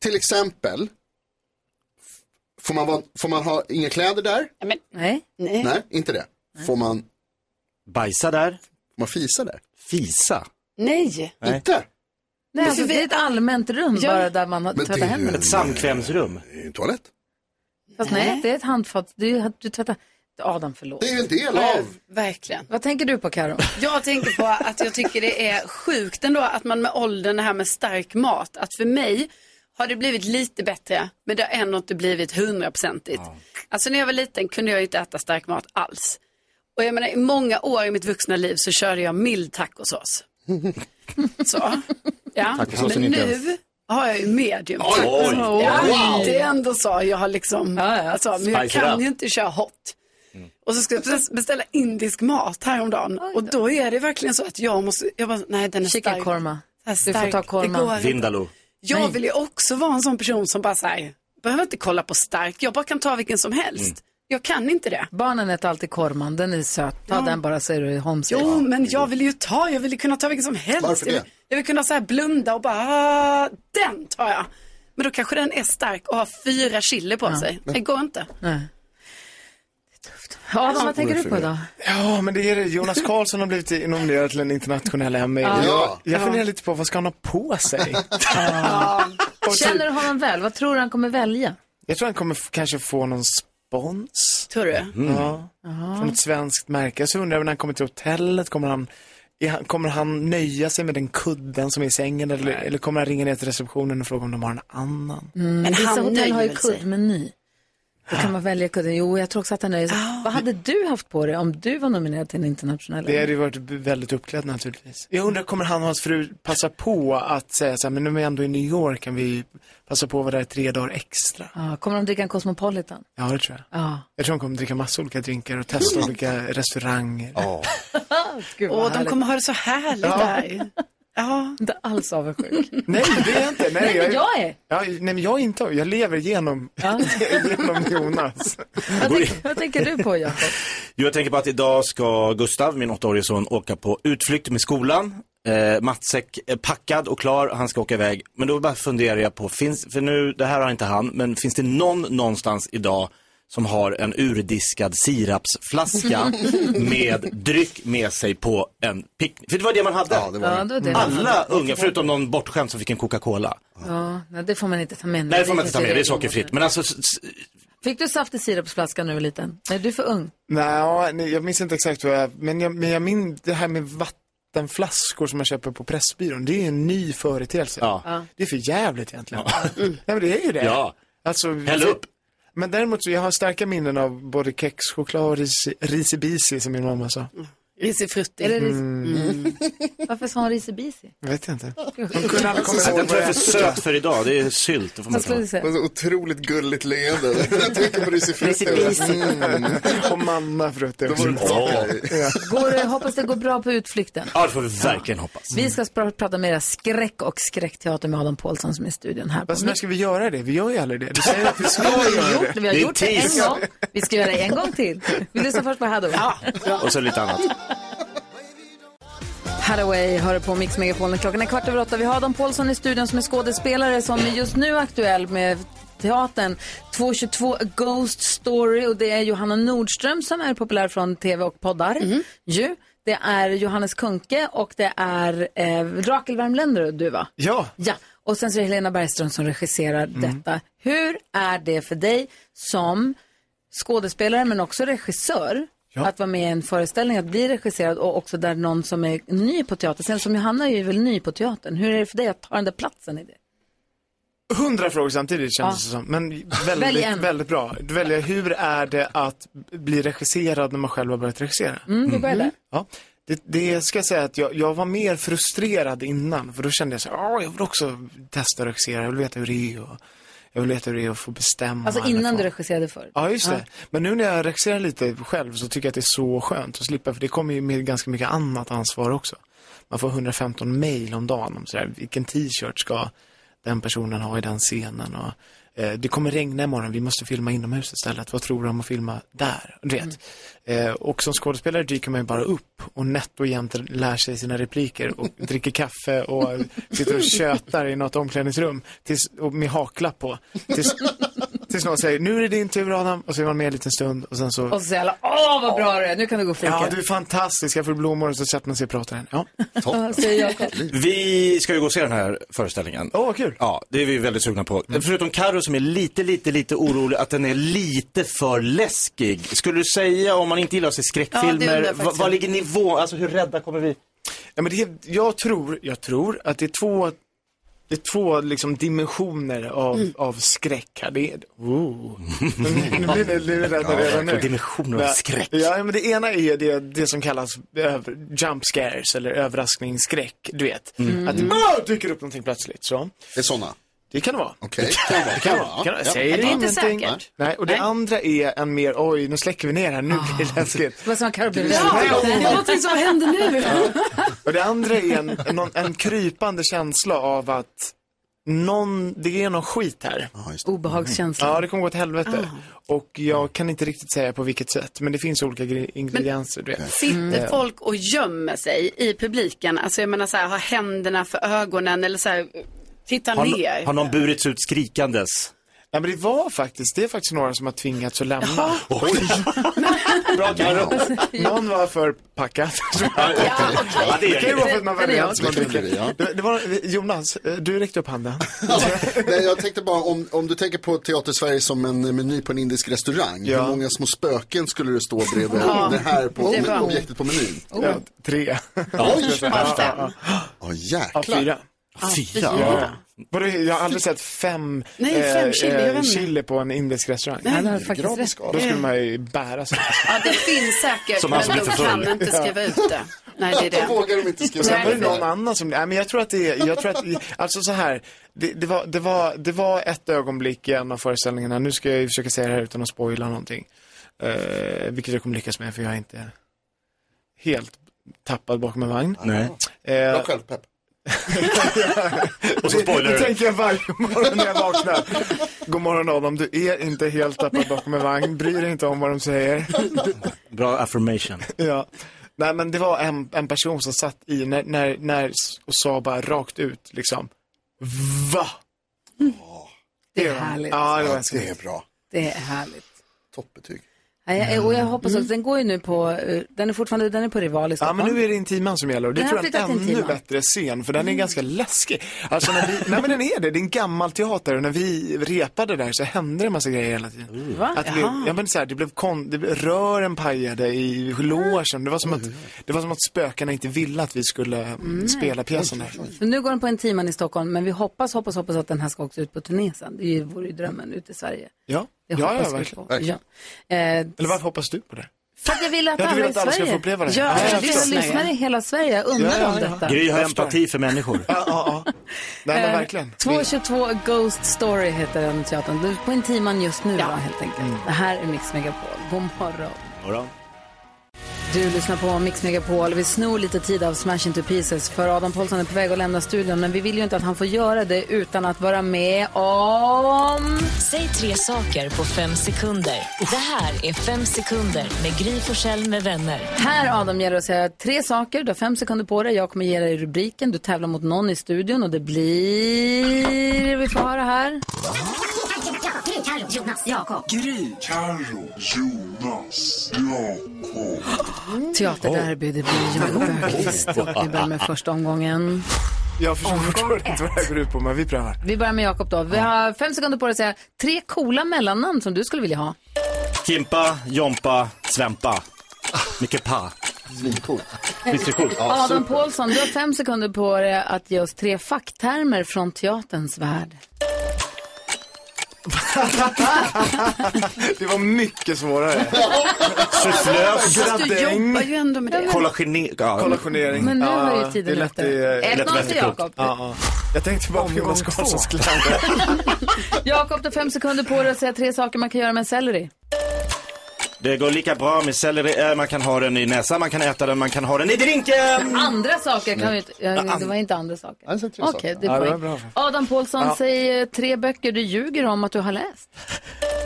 [SPEAKER 2] Till exempel, f- får man, vara- får man ha inga kläder där?
[SPEAKER 1] Nej.
[SPEAKER 4] Nej.
[SPEAKER 2] Nej, inte det. Får man...
[SPEAKER 3] Bajsa där? Får
[SPEAKER 2] man fisa där?
[SPEAKER 3] Fisa?
[SPEAKER 4] Nej.
[SPEAKER 3] Nej.
[SPEAKER 2] Inte?
[SPEAKER 1] Nej, alltså, det är ett allmänt rum
[SPEAKER 4] Ja.
[SPEAKER 1] bara där man har tvättat händerna.
[SPEAKER 3] Ett samkvämsrum.
[SPEAKER 2] toalett.
[SPEAKER 1] Fast nej, det är ett handfat. Du, du tvättar. Adam, förlåt.
[SPEAKER 2] Det är ju en del
[SPEAKER 4] Ja,
[SPEAKER 2] av.
[SPEAKER 4] Verkligen.
[SPEAKER 1] Vad tänker du på Karo?
[SPEAKER 4] Jag tänker på att jag tycker det är sjukt ändå att man med åldern, det här med stark mat, att för mig har det blivit lite bättre, men det har ändå inte blivit hundraprocentigt. Alltså när jag var liten kunde jag ju inte äta stark mat alls. Och jag menar i många år i mitt vuxna liv så körde jag mild tacosås. Så, ja.
[SPEAKER 3] Tacosåsen
[SPEAKER 4] Men
[SPEAKER 3] inte
[SPEAKER 4] nu
[SPEAKER 3] ens.
[SPEAKER 4] har jag ju medium
[SPEAKER 3] Oj,
[SPEAKER 4] tacos.
[SPEAKER 3] oj,
[SPEAKER 4] Ja,
[SPEAKER 3] wow.
[SPEAKER 4] det är ändå så, jag har liksom, alltså, men jag
[SPEAKER 3] Spice it
[SPEAKER 4] kan
[SPEAKER 3] up. Mm.
[SPEAKER 4] ju inte köra hot. Och så ska jag precis beställa indisk mat häromdagen. Och då är det verkligen så att jag måste, jag bara, nej den är
[SPEAKER 1] Chicken
[SPEAKER 4] stark.
[SPEAKER 1] korma.
[SPEAKER 4] Så här
[SPEAKER 1] Du får
[SPEAKER 4] stark.
[SPEAKER 1] ta korman.
[SPEAKER 4] Det går inte.
[SPEAKER 3] Vindaloo.
[SPEAKER 4] Jag vill ju också vara en sån person som bara säger, behöver inte kolla på stark, jag bara kan ta vilken som helst.
[SPEAKER 3] Mm.
[SPEAKER 4] Jag kan inte det.
[SPEAKER 1] Barnen äter alltid korman, den är söt. Ta
[SPEAKER 4] Ja.
[SPEAKER 1] den bara så är du homesick.
[SPEAKER 4] Jo, men jag vill ju ta, jag vill ju kunna ta vilken som helst.
[SPEAKER 1] Varför det?
[SPEAKER 4] Jag vill, jag vill kunna så här blunda och bara, "Ah, den tar jag. Men då kanske den är stark och har fyra chili på sig. Det går inte.
[SPEAKER 1] Nej. Ja, Adam, vad tänker du på idag?
[SPEAKER 7] Ja, men det är det. Jonas Karlsson har blivit nominerad till en internationell Emmy.
[SPEAKER 1] Ja.
[SPEAKER 7] Jag, jag
[SPEAKER 1] Ja.
[SPEAKER 7] funderar lite på vad ska han ha på sig?
[SPEAKER 1] Känner du honom väl? Vad tror du han kommer välja?
[SPEAKER 7] Jag tror han kommer f- kanske få någon spons.
[SPEAKER 4] Tror du?
[SPEAKER 7] Ja. Från ett svenskt märke. Så undrar jag när han kommer till hotellet, kommer han, är han, kommer han nöja sig med den kudden som är i sängen? Eller, eller kommer han ringa ner till receptionen och fråga om de har en annan?
[SPEAKER 1] Mm,
[SPEAKER 4] Men
[SPEAKER 1] vissa
[SPEAKER 4] han
[SPEAKER 1] hotell
[SPEAKER 4] nöjer
[SPEAKER 1] har ju
[SPEAKER 4] väl sig. Ah.
[SPEAKER 1] kuddmeny. Då kan man välja kudden. Jo, jag tror också att han nöjer sig. Vad hade du haft på dig om du var nominerad till en internationell
[SPEAKER 7] Det hade ju varit b- väldigt uppklädd naturligtvis. Jag undrar, kommer han och hans fru passa på att säga så här, men nu är vi ändå i New York, kan vi passa på att vara där tre dagar extra?
[SPEAKER 1] Ja, Ah, kommer de dricka en Cosmopolitan?
[SPEAKER 7] Ja,
[SPEAKER 1] Ah.
[SPEAKER 7] det tror jag.
[SPEAKER 1] Ja.
[SPEAKER 7] Jag tror han kommer dricka massa olika drinkar och testa olika restauranger.
[SPEAKER 1] Gud, vad
[SPEAKER 4] Åh, de
[SPEAKER 1] härligt.
[SPEAKER 4] kommer ha det så härligt
[SPEAKER 7] Ja.
[SPEAKER 4] där. Ja.
[SPEAKER 1] Inte alls avundsjuk.
[SPEAKER 7] Nej, det är jag inte. Nej,
[SPEAKER 1] Nej, men jag är.
[SPEAKER 7] Ja, nej, men jag är inte. Jag lever genom, genom Jonas.
[SPEAKER 1] Vad tänker du på, Jakob?
[SPEAKER 3] Jo, jag tänker på att idag ska Gustav, min åttaårige son, åka på utflykt med skolan. Eh, matsäck är packad och klar, han ska åka iväg. Men då bara funderar jag på, finns, för nu, det här har inte han, men finns det någon någonstans idag som har en urdiskad sirapsflaska med dryck med sig på en picknick? För det var det man hade.
[SPEAKER 1] var det. Mm. Ja, det var det man
[SPEAKER 3] Alla
[SPEAKER 1] hade.
[SPEAKER 3] unga, förutom någon bortskämd som fick en Coca-Cola.
[SPEAKER 1] Ja, nej, det får man inte ta med.
[SPEAKER 3] Nej, det får man inte ta med, det är
[SPEAKER 1] regler.
[SPEAKER 3] sockerfritt. Men alltså, s- s-
[SPEAKER 1] Fick du saft i sirapsflaskan när du var liten? Nej, du är för ung.
[SPEAKER 7] Nej, nej, jag minns inte exakt vad jag, men jag, men jag minns det här med vattenflaskor som man köper på Pressbyrån. Det är ju en ny företeelse.
[SPEAKER 1] Ja.
[SPEAKER 7] Det är för jävligt egentligen. Nej, men det är ju det.
[SPEAKER 3] Ja.
[SPEAKER 7] Alltså,
[SPEAKER 3] Häll upp.
[SPEAKER 7] Men däremot så jag har starka minnen av både kex, choklad och ris- risibisi som min mamma sa.
[SPEAKER 4] Risifrutti.
[SPEAKER 1] Eller ris-
[SPEAKER 7] Mm.
[SPEAKER 1] Varför sa hon risibisi?
[SPEAKER 7] Vet jag inte.
[SPEAKER 3] att den tror jag är för söt för idag, det är sylt. Det får man
[SPEAKER 1] Vad
[SPEAKER 3] inte ha.
[SPEAKER 1] skulle du säga?
[SPEAKER 2] Vad så otroligt gulligt leende. Jag tänker på Risifrutti.
[SPEAKER 7] Risifrutti.
[SPEAKER 2] Mm.
[SPEAKER 7] Och manna frutti också.
[SPEAKER 1] Går, det- hoppas det går bra på utflykten.
[SPEAKER 3] Ja, det får vi verkligen hoppas.
[SPEAKER 1] Vi ska spra- prata mer skräck och skräckteater med Adam Pålsson som är i studion här. På
[SPEAKER 7] Fast Alltså, när ska vi göra det? Vi gör ju aldrig det. Du säger att vi ska
[SPEAKER 1] Vi har
[SPEAKER 7] göra
[SPEAKER 1] gjort det, vi har
[SPEAKER 7] är
[SPEAKER 1] gjort det en
[SPEAKER 7] tease.
[SPEAKER 1] gång. Vi ska göra det en gång till. Vi lyssnar först på Haddon.
[SPEAKER 3] Och så lite annat.
[SPEAKER 1] Hathaway hör på Mix Megapolen. Klockan är kvart över åtta. Vi har Adam Pålsson i studion som är skådespelare som är just nu aktuell med teatern 222 A Ghost Story och det är Johanna Nordström som är populär från tv och poddar.
[SPEAKER 7] Mhm.
[SPEAKER 1] Ju. Det är Johannes Kuhnke och det är eh, Rakel Värmländer och du va?
[SPEAKER 7] Ja.
[SPEAKER 1] Ja, och sen så är det Helena Bergström som regisserar
[SPEAKER 7] Mm.
[SPEAKER 1] detta. Hur är det för dig som skådespelare men också regissör att vara med i en föreställning, att bli regisserad och också där någon som är ny på teater. Sen som Johanna är ju väl ny på teatern. Hur är det för dig att ta den där platsen i det?
[SPEAKER 7] Hundra frågor samtidigt känns det
[SPEAKER 1] Ja.
[SPEAKER 7] som. Men
[SPEAKER 1] Välj
[SPEAKER 7] väldigt,
[SPEAKER 1] en.
[SPEAKER 7] väldigt bra. Du väljer, hur är det att bli regisserad när man själv har börjat regissera?
[SPEAKER 1] Mm, vi börjar där.
[SPEAKER 7] Ja. Det, det ska jag säga att jag, jag var mer frustrerad innan. För då kände jag så här, "Ah, jag vill också testa att regissera. Jag vill veta hur det är och jag vill veta hur det är att få bestämma.
[SPEAKER 1] Alltså
[SPEAKER 7] eller
[SPEAKER 1] innan
[SPEAKER 7] få...
[SPEAKER 1] du regisserade förr.
[SPEAKER 7] Ja, just det. Men nu när jag regisserar lite själv så tycker jag att det är så skönt att slippa, för det kommer ju med ganska mycket annat ansvar också. Man får 115 mejl om dagen om sådär, vilken t-shirt ska den personen ha i den scenen och eh, det kommer regna imorgon, vi måste filma inomhus istället. Vad tror du om att filma där? Du vet. Eh, och som skådespelare dyker man ju bara upp och nätt och jämt lär sig sina repliker och dricker kaffe och sitter och tjötar i något omklädningsrum tills, och med haklapp på. Tills, Tills någon säger, nu är det din tur Adam. Och så är man med en liten stund och sen så.
[SPEAKER 1] Och så säger alla, åh vad bra du är, nu kan du gå och fika.
[SPEAKER 7] Ja, du är fantastisk. Jag får blommor och så sätter man sig och pratar. igen. Ja.
[SPEAKER 1] Säger Jakob.
[SPEAKER 3] Vi ska ju gå och se den här föreställningen.
[SPEAKER 7] Åh, vad kul.
[SPEAKER 3] Ja, det är vi väldigt sugna på. Förutom Karo som är lite, lite, lite orolig att den är lite för läskig. Skulle du säga, om man inte gillar att se
[SPEAKER 7] Ja, det
[SPEAKER 3] skräckfilmer,
[SPEAKER 7] undrar jag
[SPEAKER 3] vad-
[SPEAKER 7] faktiskt.
[SPEAKER 3] vad ligger nivån, alltså hur rädda kommer vi?
[SPEAKER 7] Ja, men det är, jag, tror, jag tror att det är två, det är två liksom dimensioner av, av skräck här. Det är, oh. nu, nu blir det, nu blir det
[SPEAKER 3] Ja,
[SPEAKER 7] rädda redan nu.
[SPEAKER 3] verkligen. Dimensioner av
[SPEAKER 7] Men-
[SPEAKER 3] skräck.
[SPEAKER 7] Ja, men det ena är ju det, det som kallas över, jump scares eller överraskningsskräck, du vet.
[SPEAKER 2] Mm.
[SPEAKER 7] Att det
[SPEAKER 2] Mm.
[SPEAKER 7] bara dyker upp någonting plötsligt. Så.
[SPEAKER 2] Det är sådana?
[SPEAKER 7] Det kan det vara.
[SPEAKER 2] Okej, det kan vara.
[SPEAKER 7] Det kan vara. Kan vara.
[SPEAKER 2] Ja.
[SPEAKER 7] Säger
[SPEAKER 2] Det är inte
[SPEAKER 7] ingenting.
[SPEAKER 2] säkert.
[SPEAKER 7] Nej, och det andra är en mer, oj, nu släcker vi ner här, nu blir
[SPEAKER 1] Ah.
[SPEAKER 7] det läskigt.
[SPEAKER 1] Vad sa Carro?
[SPEAKER 7] Det är
[SPEAKER 1] Ja,
[SPEAKER 7] så-
[SPEAKER 1] det var någonting som hände nu.
[SPEAKER 7] Och det andra är en, en, någon- en krypande känsla av att någon, det är någon skit här.
[SPEAKER 1] Obehagskänsla.
[SPEAKER 7] Ja, det kommer gå åt helvete.
[SPEAKER 1] Ah.
[SPEAKER 7] Och jag kan inte riktigt säga på vilket sätt, men det finns olika gre- ingredienser, du vet.
[SPEAKER 4] Sitter folk och gömmer sig i publiken? Alltså jag menar så här, har händerna för ögonen eller så här, titta
[SPEAKER 3] Har,
[SPEAKER 4] ner.
[SPEAKER 3] har någon burits ut skrikandes?
[SPEAKER 7] Nej, men det var faktiskt, det är faktiskt några som har tvingats att lämna.
[SPEAKER 3] Bra Carro.
[SPEAKER 7] Någon var för packad.
[SPEAKER 3] Ja, det är
[SPEAKER 7] det kan ju vara för att man
[SPEAKER 2] det är
[SPEAKER 7] väljer
[SPEAKER 2] jag.
[SPEAKER 7] att man
[SPEAKER 2] Det kan bli,
[SPEAKER 7] dricker.
[SPEAKER 2] ja.
[SPEAKER 7] Det- Det var, Jonas, eh, du räckte upp handen.
[SPEAKER 2] Nej, jag tänkte bara om, om du tänker på Teater Sverige som en eh, meny på en indisk restaurang. Hur många små spöken skulle det stå bredvid
[SPEAKER 7] Ja,
[SPEAKER 2] det här på,
[SPEAKER 7] det var-
[SPEAKER 2] objektet på menyn?
[SPEAKER 7] Ja, tre.
[SPEAKER 2] Oj,
[SPEAKER 7] Ja, ja, ja.
[SPEAKER 2] Ja, jäklar.
[SPEAKER 7] fyra.
[SPEAKER 2] Fyra?
[SPEAKER 7] Ja. Vadå, jag har aldrig sett fem,
[SPEAKER 2] Nej, fem
[SPEAKER 7] eh,
[SPEAKER 2] chili, jag vet inte.
[SPEAKER 7] chili på en indisk restaurang.
[SPEAKER 4] Nej, det har du faktiskt rätt.
[SPEAKER 7] Då
[SPEAKER 1] Eh.
[SPEAKER 7] skulle man ju bära sig.
[SPEAKER 4] Ja, det finns säkert,
[SPEAKER 7] Som han
[SPEAKER 4] men
[SPEAKER 7] som
[SPEAKER 4] de
[SPEAKER 7] blir för full.
[SPEAKER 4] kan inte skriva ut det. Nej, det är det.
[SPEAKER 2] Då vågar de inte skriva
[SPEAKER 7] Sen var det
[SPEAKER 2] ut
[SPEAKER 7] någon
[SPEAKER 2] det.
[SPEAKER 7] annan som, nej men jag tror att det är, jag tror att, alltså så här, det, det, var, det, var, det var ett ögonblick i en av föreställningarna, nu ska jag ju försöka säga det här utan att spoila någonting. Eh, vilket jag kommer lyckas med för jag är inte helt tappad bakom en vagn.
[SPEAKER 3] Nej.
[SPEAKER 7] Eh,
[SPEAKER 2] Bra självpepp.
[SPEAKER 7] och
[SPEAKER 2] så spoilar
[SPEAKER 7] Det
[SPEAKER 2] du.
[SPEAKER 7] tänker jag varje morgon när jag vaknar. God morgon Adam, du är inte helt tappad bakom en vagn, bry dig inte om vad de säger.
[SPEAKER 3] Bra affirmation.
[SPEAKER 7] Ja. Nej men det var en, en person som satt i när, när, när och sa bara rakt ut liksom Va?
[SPEAKER 1] Det är härligt.
[SPEAKER 7] Ja, det, var
[SPEAKER 2] det är bra.
[SPEAKER 1] Det är härligt.
[SPEAKER 2] Toppbetyg.
[SPEAKER 1] Ja, jag, och jag hoppas också, den går ju nu på, eh, den är fortfarande, den är på Rival i
[SPEAKER 7] Mm. Ja
[SPEAKER 1] Stockholm.
[SPEAKER 7] men nu är det Intiman som gäller och det
[SPEAKER 1] Den har
[SPEAKER 7] tror jag är
[SPEAKER 1] flyttat
[SPEAKER 7] en ännu
[SPEAKER 1] Intiman.
[SPEAKER 7] bättre scen för
[SPEAKER 1] Mm.
[SPEAKER 7] den är ganska läskig. Alltså när vi, nej men den är det, det är en gammal teater och när vi repade där så hände det en massa grejer hela tiden.
[SPEAKER 1] Va?
[SPEAKER 7] Att det, blev-
[SPEAKER 1] Jaha.
[SPEAKER 7] ja men så här, det blev kon, det blev, rören pajade i logen, det var som att,
[SPEAKER 1] Mm.
[SPEAKER 7] det var som att spökarna inte ville att vi skulle mm, spela pjäsen där.
[SPEAKER 1] Men nu går den på en timman i Stockholm, men vi hoppas, hoppas, hoppas att den här ska också ut på turné sen. Det är ju- vore ju drömmen ut i Sverige.
[SPEAKER 7] Ja,
[SPEAKER 1] Det
[SPEAKER 7] ja, ja
[SPEAKER 1] hoppas vi
[SPEAKER 7] verkligen.
[SPEAKER 1] på. Verkligen. Eh,
[SPEAKER 7] Eller varför hoppas du på det?
[SPEAKER 1] För att jag vill att
[SPEAKER 7] Ja, du
[SPEAKER 1] alla
[SPEAKER 7] vill
[SPEAKER 1] i
[SPEAKER 7] att alla ska
[SPEAKER 1] Sverige...
[SPEAKER 7] få uppleva det.
[SPEAKER 1] Ja,
[SPEAKER 7] Ja, jag
[SPEAKER 1] jag
[SPEAKER 7] förstår.
[SPEAKER 1] lyssnar i hela Sverige. Jag undrar
[SPEAKER 7] Ja, ja,
[SPEAKER 1] om
[SPEAKER 7] ja.
[SPEAKER 1] detta.
[SPEAKER 3] Gry har empati för människor.
[SPEAKER 7] Nej men
[SPEAKER 1] Eh,
[SPEAKER 7] verkligen.
[SPEAKER 1] 222 Ghost Story heter den teatern. Du är på en timman just nu då, helt enkelt.
[SPEAKER 7] Mm.
[SPEAKER 1] Det här är Mix Megapol. God morgon.
[SPEAKER 3] Morgon.
[SPEAKER 1] Du lyssnar på Mix Megapol. Vi snor lite tid av Smash Into Pieces för Adam Pålsson är på väg att lämna studion men vi vill ju inte att han får göra det utan att vara med om...
[SPEAKER 13] Säg tre saker på fem sekunder. Det här är Fem sekunder med Gry Forssell med vänner.
[SPEAKER 1] Här Adam gäller det att säga tre saker. Du har fem sekunder på dig. Jag kommer ge dig rubriken. Du tävlar mot någon i studion och det blir... Vi får höra här.
[SPEAKER 6] Gry, Carro, Jonas, Jakob. Gry, Carro, Jonas, Jakob.
[SPEAKER 1] Teaterderby. Det blir Jan Bergqvist. Och Vi börjar med första omgången.
[SPEAKER 7] Jag förstår fortfarande inte vad det här går ut på men vi prövar.
[SPEAKER 1] Vi börjar med Jakob då. Vi har fem sekunder på dig att säga tre coola mellannamn som du skulle vilja ha.
[SPEAKER 3] Kimpa, Jompa, Svempa. Mycket pa.
[SPEAKER 2] Svincoolt.
[SPEAKER 3] Visst är det coolt?
[SPEAKER 1] Adam Pålsson, du har fem sekunder på dig att ge oss tre facktermer från teaterns värld.
[SPEAKER 7] Det var mycket svårare.
[SPEAKER 3] Sufflös.
[SPEAKER 4] Fast du jobbar ju ändå med det.
[SPEAKER 3] Kollationering. Ja.
[SPEAKER 7] Kollationering.
[SPEAKER 4] Men nu har ju
[SPEAKER 7] Ja,
[SPEAKER 4] tiden
[SPEAKER 7] det lät,
[SPEAKER 4] ute.
[SPEAKER 7] eh, det lät
[SPEAKER 1] 1-0 till
[SPEAKER 7] väldigt klokt.
[SPEAKER 1] Jakob.
[SPEAKER 7] Ja, ja. Jag tänkte bara på Jonas Karlssons kläder.
[SPEAKER 1] Jakob, du har fem sekunder på dig att säga tre saker man kan göra med en selleri.
[SPEAKER 3] Det går lika bra med selleri. Eh, Man kan ha den i näsan, man kan äta den, man kan ha den i drinken.
[SPEAKER 1] Andra saker kan vi inte... ja, Det var inte andra saker. Okej, det
[SPEAKER 7] Ja, det
[SPEAKER 1] är
[SPEAKER 7] var bra.
[SPEAKER 1] poäng. Adam Pålsson,
[SPEAKER 7] Ja.
[SPEAKER 1] säg eh, tre böcker du ljuger om att du har läst.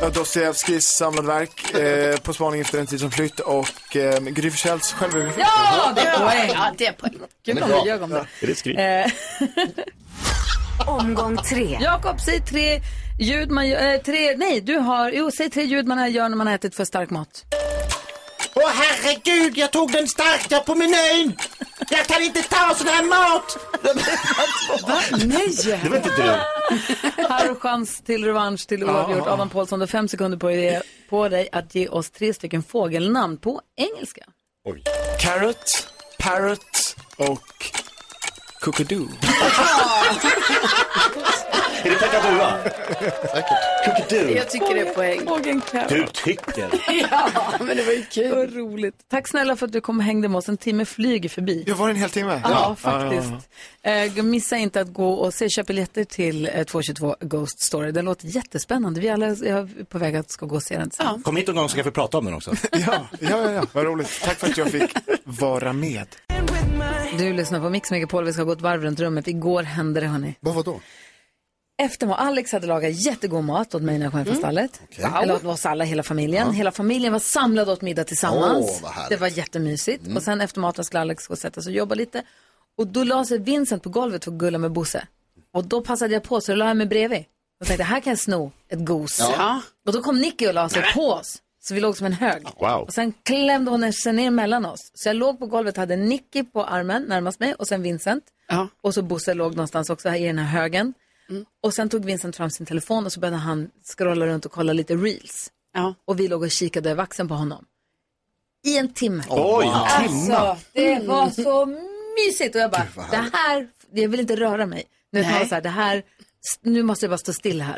[SPEAKER 7] Ja, Dostojevskijs samlade verk, eh, På spaning efter en tid som flytt och eh, Gry Forssells självbiografi.
[SPEAKER 1] Ja, det är poäng.
[SPEAKER 4] Ja, det är poäng.
[SPEAKER 1] Kul om du ljög om det.
[SPEAKER 3] Är det skri?
[SPEAKER 1] Eh, Omgång tre. Jakob, säg tre ljud man gör, eh, tre, nej du har, jo säg tre ljud man gör när man har ätit för stark mat.
[SPEAKER 14] Åh herregud, jag tog den starka på menyn! Jag kan inte ta sån här mat!
[SPEAKER 1] Nej!
[SPEAKER 14] Det var inte du.
[SPEAKER 1] Här och chans till revansch till oavgjort.
[SPEAKER 14] Ja.
[SPEAKER 1] Adam Pålsson, du har fem sekunder på dig, på dig att ge oss tre stycken fågelnamn på engelska.
[SPEAKER 7] Carrot, parrot och cookadoo.
[SPEAKER 3] Är det kakaduva? Säkert.
[SPEAKER 4] Jag tycker det är poäng.
[SPEAKER 3] Du tycker?
[SPEAKER 4] Ja, men det var ju kul.
[SPEAKER 1] Vad roligt. Tack snälla för att du kom och hängde med oss. En timme flyger förbi.
[SPEAKER 7] Det var en hel timme.
[SPEAKER 1] Ja, faktiskt. Eh, missa inte att gå och se, köp biljetter till eh, 222 Ghost Story. Den låter jättespännande. Vi alla är på väg att ska gå och se den tillsammans.
[SPEAKER 3] Kom hit någon gång så kan vi prata om den också.
[SPEAKER 7] Ja, ja, ja. Vad roligt. Tack för att jag fick vara med.
[SPEAKER 1] Du lyssnar på Mix Megapol. Vi ska gå ett varv runt rummet. Igår hände det, hörni.
[SPEAKER 2] Vad var då?
[SPEAKER 1] Efter mat. Alex hade lagat jättegod mat åt mig när jag kom hem från
[SPEAKER 4] Mm.
[SPEAKER 1] stallet.
[SPEAKER 4] Okej.
[SPEAKER 1] Eller åt oss alla, hela familjen. Hela familjen var samlad åt middag tillsammans.
[SPEAKER 4] Åh, vad härligt.
[SPEAKER 1] det var jättemysigt.
[SPEAKER 4] Mm.
[SPEAKER 1] Och sen efter maten skulle Alex gå och sätta sig och jobba lite. Och då la sig Vincent på golvet för att gulla med Bosse. Och då passade jag på, så då la jag mig bredvid. Och tänkte, här kan jag sno ett gos.
[SPEAKER 4] Ja.
[SPEAKER 1] Och då kom Nicky och la sig på oss. Så vi låg som en hög.
[SPEAKER 4] Wow.
[SPEAKER 1] Och sen klämde hon sig ner mellan oss. Så jag låg på golvet, hade Nicky på armen närmast mig och sen Vincent. Och så Bosse låg någonstans också här i den här högen. Och sen tog Vincent fram sin telefon och så började han scrolla runt och kolla lite reels. Och vi låg och kikade över axeln på honom. I en timme.
[SPEAKER 14] Oj, en timme.
[SPEAKER 1] Alltså, det var så mysigt. Och jag bara, det här, jag vill inte röra mig. Nu, tar jag så här, det här, nu måste jag bara stå still här.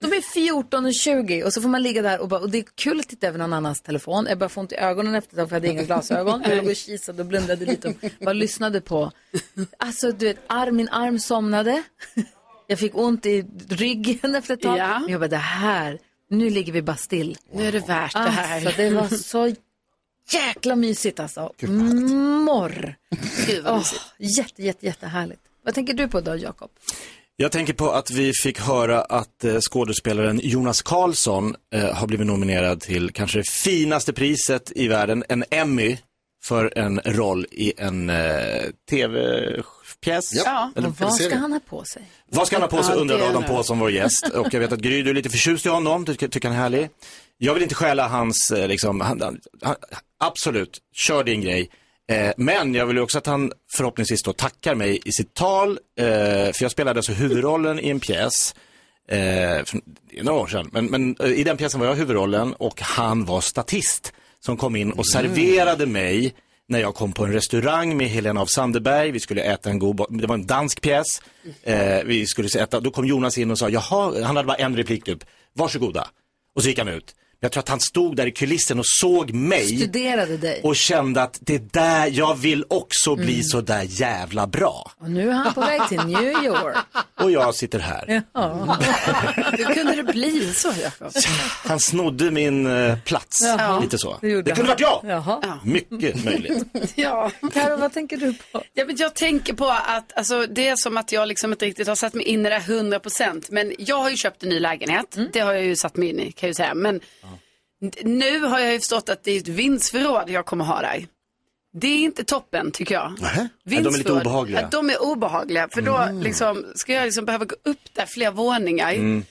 [SPEAKER 1] De är 14 och 20 och så får man ligga där och, bara, och det är kul att titta över någon annans telefon. Jag började få ont i ögonen efter ett tag för jag hade inga glasögon. Jag låg och kisade och blundade lite och bara lyssnade på. Alltså du vet, arm, min arm somnade. Jag fick ont i ryggen efter ett tag.
[SPEAKER 4] Ja.
[SPEAKER 1] Men Jag bara, det här, nu ligger vi bara still.
[SPEAKER 4] Nu är det värt det här.
[SPEAKER 1] Alltså, det var så jäkla mysigt alltså. Morr.
[SPEAKER 4] Gud
[SPEAKER 1] vad mysigt. jätte, jätte, jättehärligt. Vad tänker du på då, Jakob?
[SPEAKER 3] Jag tänker på att vi fick höra att eh, skådespelaren Jonas Karlsson eh, har blivit nominerad till kanske det finaste priset i världen, en Emmy, för en roll i en eh, tv-pjäs. Eller-
[SPEAKER 1] Och vad ska han ha på sig?
[SPEAKER 3] Vad ska han ha på sig
[SPEAKER 1] Ja,
[SPEAKER 3] undrar
[SPEAKER 1] det
[SPEAKER 3] Adam
[SPEAKER 1] undrar jag.
[SPEAKER 3] Pålsson, vår gäst. Och jag vet att Gry, du är lite förtjust i honom, du tycker, tycker han är härlig. Jag vill inte stjäla hans, eh, liksom, han, han, han, absolut, kör din grej. Eh, men jag vill ju också att han förhoppningsvis då tackar mig i sitt tal, eh, för jag spelade alltså huvudrollen i en pjäs, eh, för det är några år sedan, men, men eh, i den pjäsen var jag huvudrollen och han var statist som kom in och serverade mig när jag kom på en restaurang med Helena af Sanderberg. Vi skulle äta en god, bo- det var en dansk pjäs. Eh, vi skulle se- äta, då kom Jonas in och sa, jaha, han hade bara en replik typ, varsågoda. Och så gick han ut. Jag tror att han stod där i kulissen och såg mig
[SPEAKER 1] Studerade dig.
[SPEAKER 3] och kände att det där, jag vill också bli så där jävla bra.
[SPEAKER 1] Och nu är han på väg till New York.
[SPEAKER 3] Och jag sitter här.
[SPEAKER 1] Ja. Hur kunde det bli så, Jakob?
[SPEAKER 3] Han snodde min eh, plats,
[SPEAKER 1] Jaha.
[SPEAKER 3] lite så.
[SPEAKER 1] Det gjorde
[SPEAKER 3] Det kunde
[SPEAKER 1] han.
[SPEAKER 3] varit jag!
[SPEAKER 1] Jaha.
[SPEAKER 3] Mycket möjligt.
[SPEAKER 4] Ja.
[SPEAKER 1] Karo, vad tänker du på?
[SPEAKER 4] Ja, men jag tänker på att alltså, det är som att jag liksom inte riktigt har satt mig in i det här 100 procent. Men jag har ju köpt en ny lägenhet.
[SPEAKER 1] Mm.
[SPEAKER 4] Det har jag ju satt mig in i kan jag ju säga. Men n- nu har jag ju förstått att det är ett vindsförråd jag kommer ha där. Det är inte toppen tycker jag.
[SPEAKER 3] Nej, de är lite
[SPEAKER 4] Vindsförråd.
[SPEAKER 3] obehagliga.
[SPEAKER 4] Ja, de är obehagliga. För då liksom, ska jag liksom behöva gå upp där flera våningar.
[SPEAKER 3] Mm.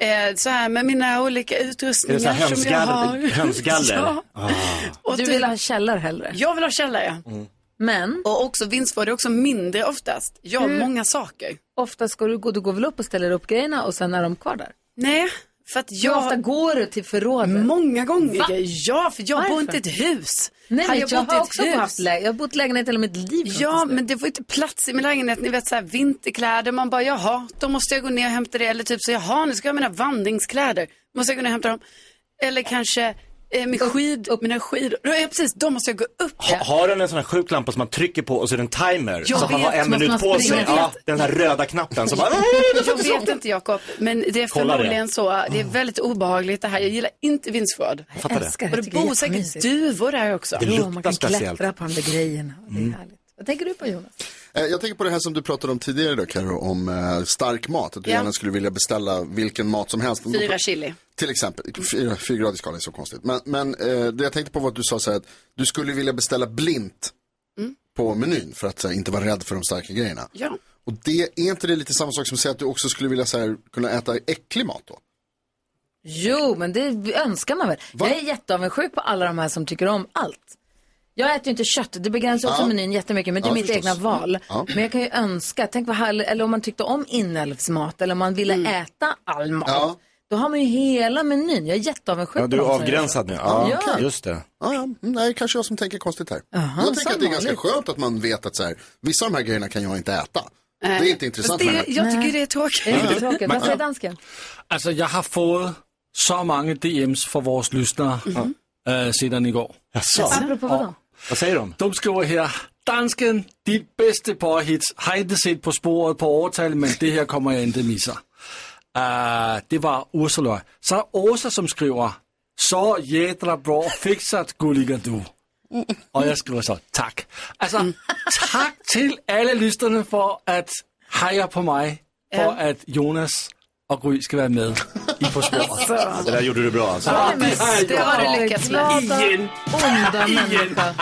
[SPEAKER 4] Eh, så här med mina olika
[SPEAKER 3] Är
[SPEAKER 4] utrustningar
[SPEAKER 3] det så här
[SPEAKER 4] som jag har.
[SPEAKER 3] hönsgall- hönsgaller?
[SPEAKER 4] Ja. typ-
[SPEAKER 3] Ah.
[SPEAKER 1] du vill ha källare hellre?
[SPEAKER 4] Jag vill ha källare.
[SPEAKER 3] Mm.
[SPEAKER 1] Men?
[SPEAKER 4] Och också vindsvård är också mindre oftast. Jag har
[SPEAKER 1] Hur-
[SPEAKER 4] många saker.
[SPEAKER 1] Ofta ska du gå, du går väl upp och ställer upp grejerna och sen är de kvar där?
[SPEAKER 4] Nej, för att
[SPEAKER 1] Hur ofta går du till
[SPEAKER 4] Mm.
[SPEAKER 1] förrådet?
[SPEAKER 4] Många gånger.
[SPEAKER 1] Va?
[SPEAKER 4] Ja, för jag bor inte i ett hus.
[SPEAKER 1] Nej,
[SPEAKER 4] Hade
[SPEAKER 1] men jag,
[SPEAKER 4] jag bott i
[SPEAKER 1] har
[SPEAKER 4] ett
[SPEAKER 1] också
[SPEAKER 4] hus?
[SPEAKER 1] haft lägenhet. Jag har bott i lägenhet hela mitt liv.
[SPEAKER 4] Ja, men det var inte plats i min lägenhet. Ni vet så här vinterkläder. Man bara, jaha, då måste jag gå ner och hämta det. Eller typ så, jaha, nu ska jag ha mina vandringskläder. Måste jag gå ner och hämta dem. Eller kanske eh, min skid, mina skidor. Ja, precis, de måste jag gå upp.
[SPEAKER 3] Ha, har den en sån här sjuk lampa som man trycker på och så är det en timer?
[SPEAKER 4] Jag
[SPEAKER 3] så att man
[SPEAKER 4] vet,
[SPEAKER 3] har en
[SPEAKER 4] som att
[SPEAKER 3] minut
[SPEAKER 4] man
[SPEAKER 3] på sig.
[SPEAKER 4] springer. Jag
[SPEAKER 3] Ja,
[SPEAKER 4] vet.
[SPEAKER 3] den här röda knappen som bara...
[SPEAKER 4] Jag vet inte Jakob, men det är
[SPEAKER 3] Kolla det.
[SPEAKER 4] förmodligen så. Det är väldigt obehagligt det här. Jag gillar inte vindsförråd.
[SPEAKER 3] Jag fattar det. älskar det.
[SPEAKER 4] Och det
[SPEAKER 3] Tycker det är
[SPEAKER 4] bor säkert
[SPEAKER 3] jättemysigt.
[SPEAKER 4] duvor där också.
[SPEAKER 3] Det luktar Ja, man kan speciellt. Mm.
[SPEAKER 1] Klättra på de där grejerna. Det är härligt. Vad tänker du på Jonas?
[SPEAKER 2] Eh, Jag tänker på det här som du pratade om tidigare då, Karo, om eh, stark mat. Att du
[SPEAKER 4] Ja.
[SPEAKER 2] gärna skulle vilja beställa vilken mat som helst.
[SPEAKER 4] Fyra chili.
[SPEAKER 2] Till exempel, fyra- fyrgradig skala är så konstigt. Men, men eh, det jag tänkte på var att du sa så här att du skulle vilja beställa blint
[SPEAKER 4] Mm.
[SPEAKER 2] på menyn för att så här, inte vara rädd för de starka grejerna.
[SPEAKER 4] Ja.
[SPEAKER 2] Och det, är inte det lite samma sak som att säga att du också skulle vilja så här, kunna äta äcklig mat då?
[SPEAKER 1] Jo, men det önskar man väl. Jag är jätteavundsjuk på alla de här som tycker om allt. Jag äter ju inte kött, det begränsar också
[SPEAKER 15] Ja.
[SPEAKER 1] menyn jättemycket, men det är
[SPEAKER 15] Ja,
[SPEAKER 1] mitt
[SPEAKER 15] förstås.
[SPEAKER 1] egna val.
[SPEAKER 3] Mm.
[SPEAKER 15] Ja.
[SPEAKER 1] Men jag kan ju önska, tänk vad härligt, eller om man tyckte om inälvsmat, eller om man ville äta all mat.
[SPEAKER 3] Mm. Ja.
[SPEAKER 1] Då har man ju hela menyn, jag är jätteavundsjuk
[SPEAKER 3] Ja, du är
[SPEAKER 1] på dem som gör
[SPEAKER 3] avgränsad
[SPEAKER 1] så.
[SPEAKER 3] nu.
[SPEAKER 1] Ja,
[SPEAKER 3] Ja, just det.
[SPEAKER 2] Ja, ja. Mm, Nej, kanske jag som tänker konstigt här. jag tänker att det är ganska skönt att man vet att så här, vissa av de här grejerna kan jag inte äta. Det är inte intressant.
[SPEAKER 4] Det,
[SPEAKER 2] med det.
[SPEAKER 4] jag tycker det är tråkigt.
[SPEAKER 1] Det är
[SPEAKER 3] Mm.
[SPEAKER 1] jättetråkigt. Vad säger dansken?
[SPEAKER 7] Altså, jeg Alltså, har fået så mange DM's fra vores lyttere
[SPEAKER 1] Mhm.
[SPEAKER 7] øh, siden i går.
[SPEAKER 3] Alltså,
[SPEAKER 1] Apropå vad då?
[SPEAKER 7] Hvad sagde du? De skriver her, Dansken, dit bedste porhits har ikke set på sporet på overtal, men det her kommer jeg ikke misser. Uh, det var Ursula. Så er der Åsa, som skriver, så jædra bra, fikset gulliger du. Og jeg skriver så, tak. Altså, tak til alle lysterne for at heje på mig, for
[SPEAKER 3] Ja.
[SPEAKER 7] at Jonas og Gry skal være med i På sporet.
[SPEAKER 3] Det där gjorde du bra alltså.
[SPEAKER 7] Ja, det
[SPEAKER 4] Det har du lyckats med.
[SPEAKER 7] Igen.
[SPEAKER 1] Onda
[SPEAKER 7] Igen.
[SPEAKER 1] människa.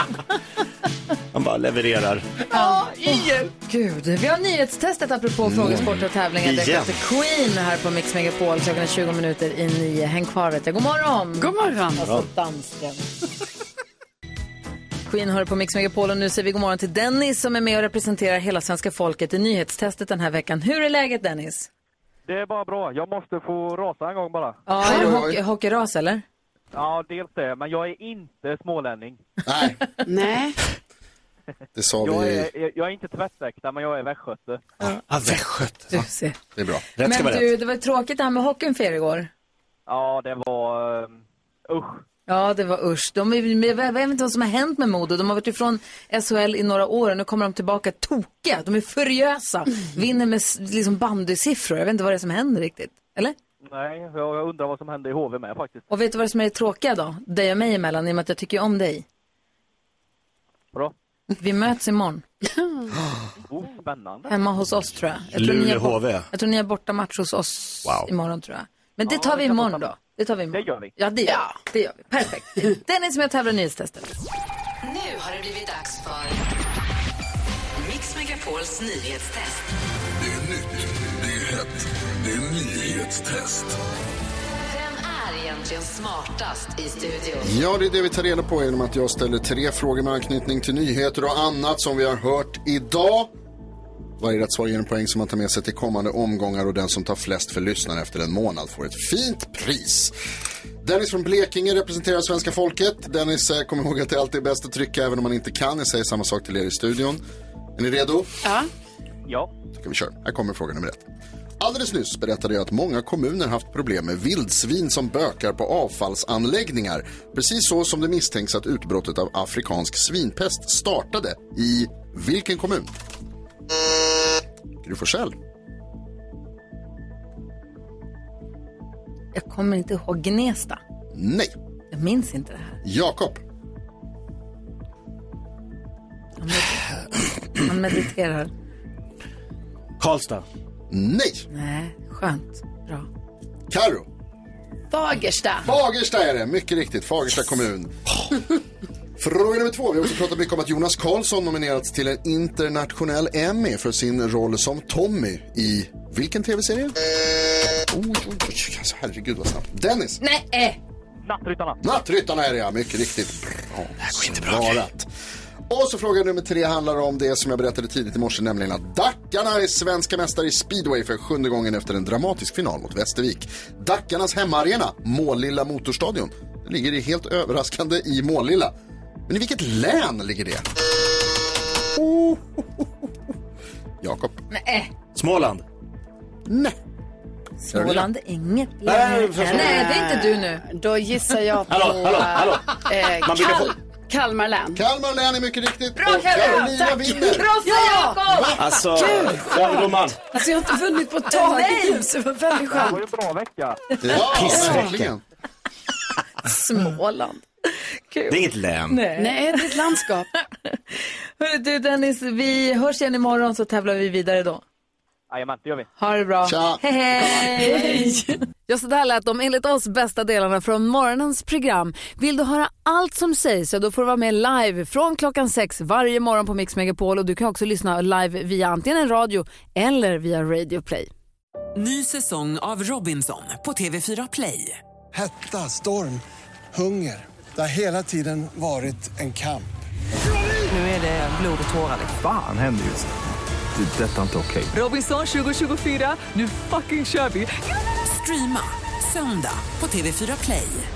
[SPEAKER 3] Han bara levererar.
[SPEAKER 1] Ja, igen. Gud, vi har nyhetstestet apropå
[SPEAKER 3] Mm.
[SPEAKER 1] frågesport och tävlingar. Det är
[SPEAKER 3] Igen.
[SPEAKER 1] efter Queen här på Mix Megapol. Klockan är 20 minuter i nio. Häng kvar vet jag. God morgon! God morgon! Alltså dansken. Queen hör på Mix Megapol och nu säger vi god morgon till Dennis som är med och representerar hela svenska folket i nyhetstestet den här veckan. Hur är läget Dennis?
[SPEAKER 10] Det är bara bra. Jag måste få rasa en gång bara.
[SPEAKER 1] Ja, är det hockey, hockeyras eller?
[SPEAKER 10] Ja, dels det. Men jag är inte smålänning.
[SPEAKER 4] Nej.
[SPEAKER 2] Det sa
[SPEAKER 10] jag,
[SPEAKER 2] vi.
[SPEAKER 10] är, jag är inte tvättäkta, men jag är västgöte.
[SPEAKER 2] Ah, Västgöt.
[SPEAKER 1] Du ser.
[SPEAKER 2] Det är bra.
[SPEAKER 1] Men du, det var tråkigt det här med hockeyn för er igår.
[SPEAKER 10] Ja, det var... ehm, usch.
[SPEAKER 1] Ja, det var usch. De är, men jag vet inte vad som har hänt med Modo. De har varit ifrån SHL i några år och nu kommer de tillbaka tokiga. De är furiösa. Vinner med s- liksom bandysiffror. Jag vet inte vad det är som händer riktigt. Eller?
[SPEAKER 10] Nej, jag jag undrar vad som hände i HV med faktiskt.
[SPEAKER 1] Och vet du vad som är det tråkiga då? Dig och mig emellan, i och med att jag tycker ju om dig.
[SPEAKER 10] Bra.
[SPEAKER 1] Vi möts imorgon.
[SPEAKER 10] Oh, spännande.
[SPEAKER 1] Hemma hos oss tror jag. jag tror ni
[SPEAKER 3] Luleå
[SPEAKER 1] har bort-
[SPEAKER 3] HV.
[SPEAKER 1] Jag tror ni har borta match hos oss
[SPEAKER 3] Wow.
[SPEAKER 1] imorgon tror jag. Men det tar vi imorgon då. Det tar vi imorgon. Det gör vi. Ja, det gör, vi. det gör vi. Perfekt. Dennis som jag tävlar i nyhetstestet.
[SPEAKER 16] Nu har det blivit dags för Mix Megapols nyhetstest.
[SPEAKER 17] Det är nytt, det är hett, det är nyhetstest.
[SPEAKER 16] Vem är egentligen smartast i studion?
[SPEAKER 2] Ja, det är det vi tar reda på genom att jag ställer tre frågor med anknytning till nyheter och annat som vi har hört idag. Varje rätt svar ger en poäng som man tar med sig till kommande omgångar och den som tar flest för lyssnaren efter en månad får ett fint pris. Dennis från Blekinge representerar svenska folket. Dennis, eh, kom ihåg att det alltid är bäst att trycka även om man inte kan. Jag säger samma sak till er i studion. Är ni redo?
[SPEAKER 4] Ja.
[SPEAKER 10] Ja.
[SPEAKER 2] Då kan vi köra. Här kommer fråga nummer ett. Alldeles nyss berättade jag att många kommuner haft problem med vildsvin som bökar på avfallsanläggningar. Precis så som det misstänks att utbrottet av afrikansk svinpest startade i vilken kommun? Gry Forssell.
[SPEAKER 1] Jag kommer inte ihåg Gnesta.
[SPEAKER 2] Nej.
[SPEAKER 1] Jag minns inte det här.
[SPEAKER 2] Jakob.
[SPEAKER 1] Han mediterar.
[SPEAKER 3] Karlstad.
[SPEAKER 2] Nej.
[SPEAKER 1] Nej, skönt. Bra.
[SPEAKER 2] Karo.
[SPEAKER 4] Fagersta.
[SPEAKER 2] Fagersta är det, mycket riktigt. Fagersta kommun. Fråga nummer två. Vi har också pratat mycket om att Jonas Karlsson nominerats till en internationell Emmy för sin roll som Tommy i vilken tv-serie? Oj, oj, oj, alltså, herregud vad snabbt. Dennis.
[SPEAKER 1] Nej, eh.
[SPEAKER 10] Nattryttarna.
[SPEAKER 2] Nattryttarna är det, ja. Mycket riktigt. Bra det här går inte bra, svarat. Och så fråga nummer tre handlar om det som jag berättade tidigt i morse, nämligen att Dackarna är svenska mästare i speedway för sjunde gången efter en dramatisk final mot Västervik. Dackarnas hemmaarena, Målilla Motorstadion, ligger i helt överraskande i Målilla. Men i vilket län ligger det? Oh. Jakob.
[SPEAKER 1] Nej.
[SPEAKER 3] Småland.
[SPEAKER 2] Nej.
[SPEAKER 1] Småland är inget
[SPEAKER 3] Nej,
[SPEAKER 1] län.
[SPEAKER 3] för
[SPEAKER 1] Nej,
[SPEAKER 3] fan.
[SPEAKER 1] det är inte du nu.
[SPEAKER 4] Då gissar jag på...
[SPEAKER 2] Hallå, hallå, hallå.
[SPEAKER 4] eh,
[SPEAKER 2] Man brukar få-
[SPEAKER 4] Kal- Kalmar län.
[SPEAKER 2] Kalmar län är mycket riktigt.
[SPEAKER 4] Bra
[SPEAKER 2] Och Carolina
[SPEAKER 4] Tack!
[SPEAKER 2] vinner.
[SPEAKER 4] Krossa Jakob!
[SPEAKER 3] Alltså,
[SPEAKER 4] Gud!
[SPEAKER 3] överdomaren.
[SPEAKER 4] Alltså jag har inte vunnit på ett tag.
[SPEAKER 1] Nej!
[SPEAKER 4] Det var väldigt
[SPEAKER 10] Det var ju
[SPEAKER 4] skönt.
[SPEAKER 10] en bra vecka.
[SPEAKER 2] Ja,
[SPEAKER 3] Pissvecka.
[SPEAKER 2] verkligen.
[SPEAKER 1] Småland.
[SPEAKER 3] Det är inget län.
[SPEAKER 1] Nej.
[SPEAKER 4] Nej, det är ett landskap.
[SPEAKER 1] Hörru du Dennis, vi hörs igen imorgon så tävlar vi vidare då.
[SPEAKER 18] Jajamän, det gör vi.
[SPEAKER 1] Ha det bra.
[SPEAKER 18] Tja.
[SPEAKER 1] Hej, hej.
[SPEAKER 18] Hej.
[SPEAKER 1] Ja, så där lät de enligt oss bästa delarna från morgonens program. Vill du höra allt som sägs så då får du vara med live från klockan sex varje morgon på Mix Megapol och du kan också lyssna live via antingen en radio eller via Radio Play.
[SPEAKER 11] Ny säsong av Robinson på TV4 Play.
[SPEAKER 17] Hetta, storm, hunger. Det har hela tiden varit en kamp.
[SPEAKER 11] Nu är det blod och tårar.
[SPEAKER 19] Fan händer just nu. Det. är Detta är inte okej.
[SPEAKER 11] Robinson 2024, nu fucking kör vi! Streama söndag på TV4 Play.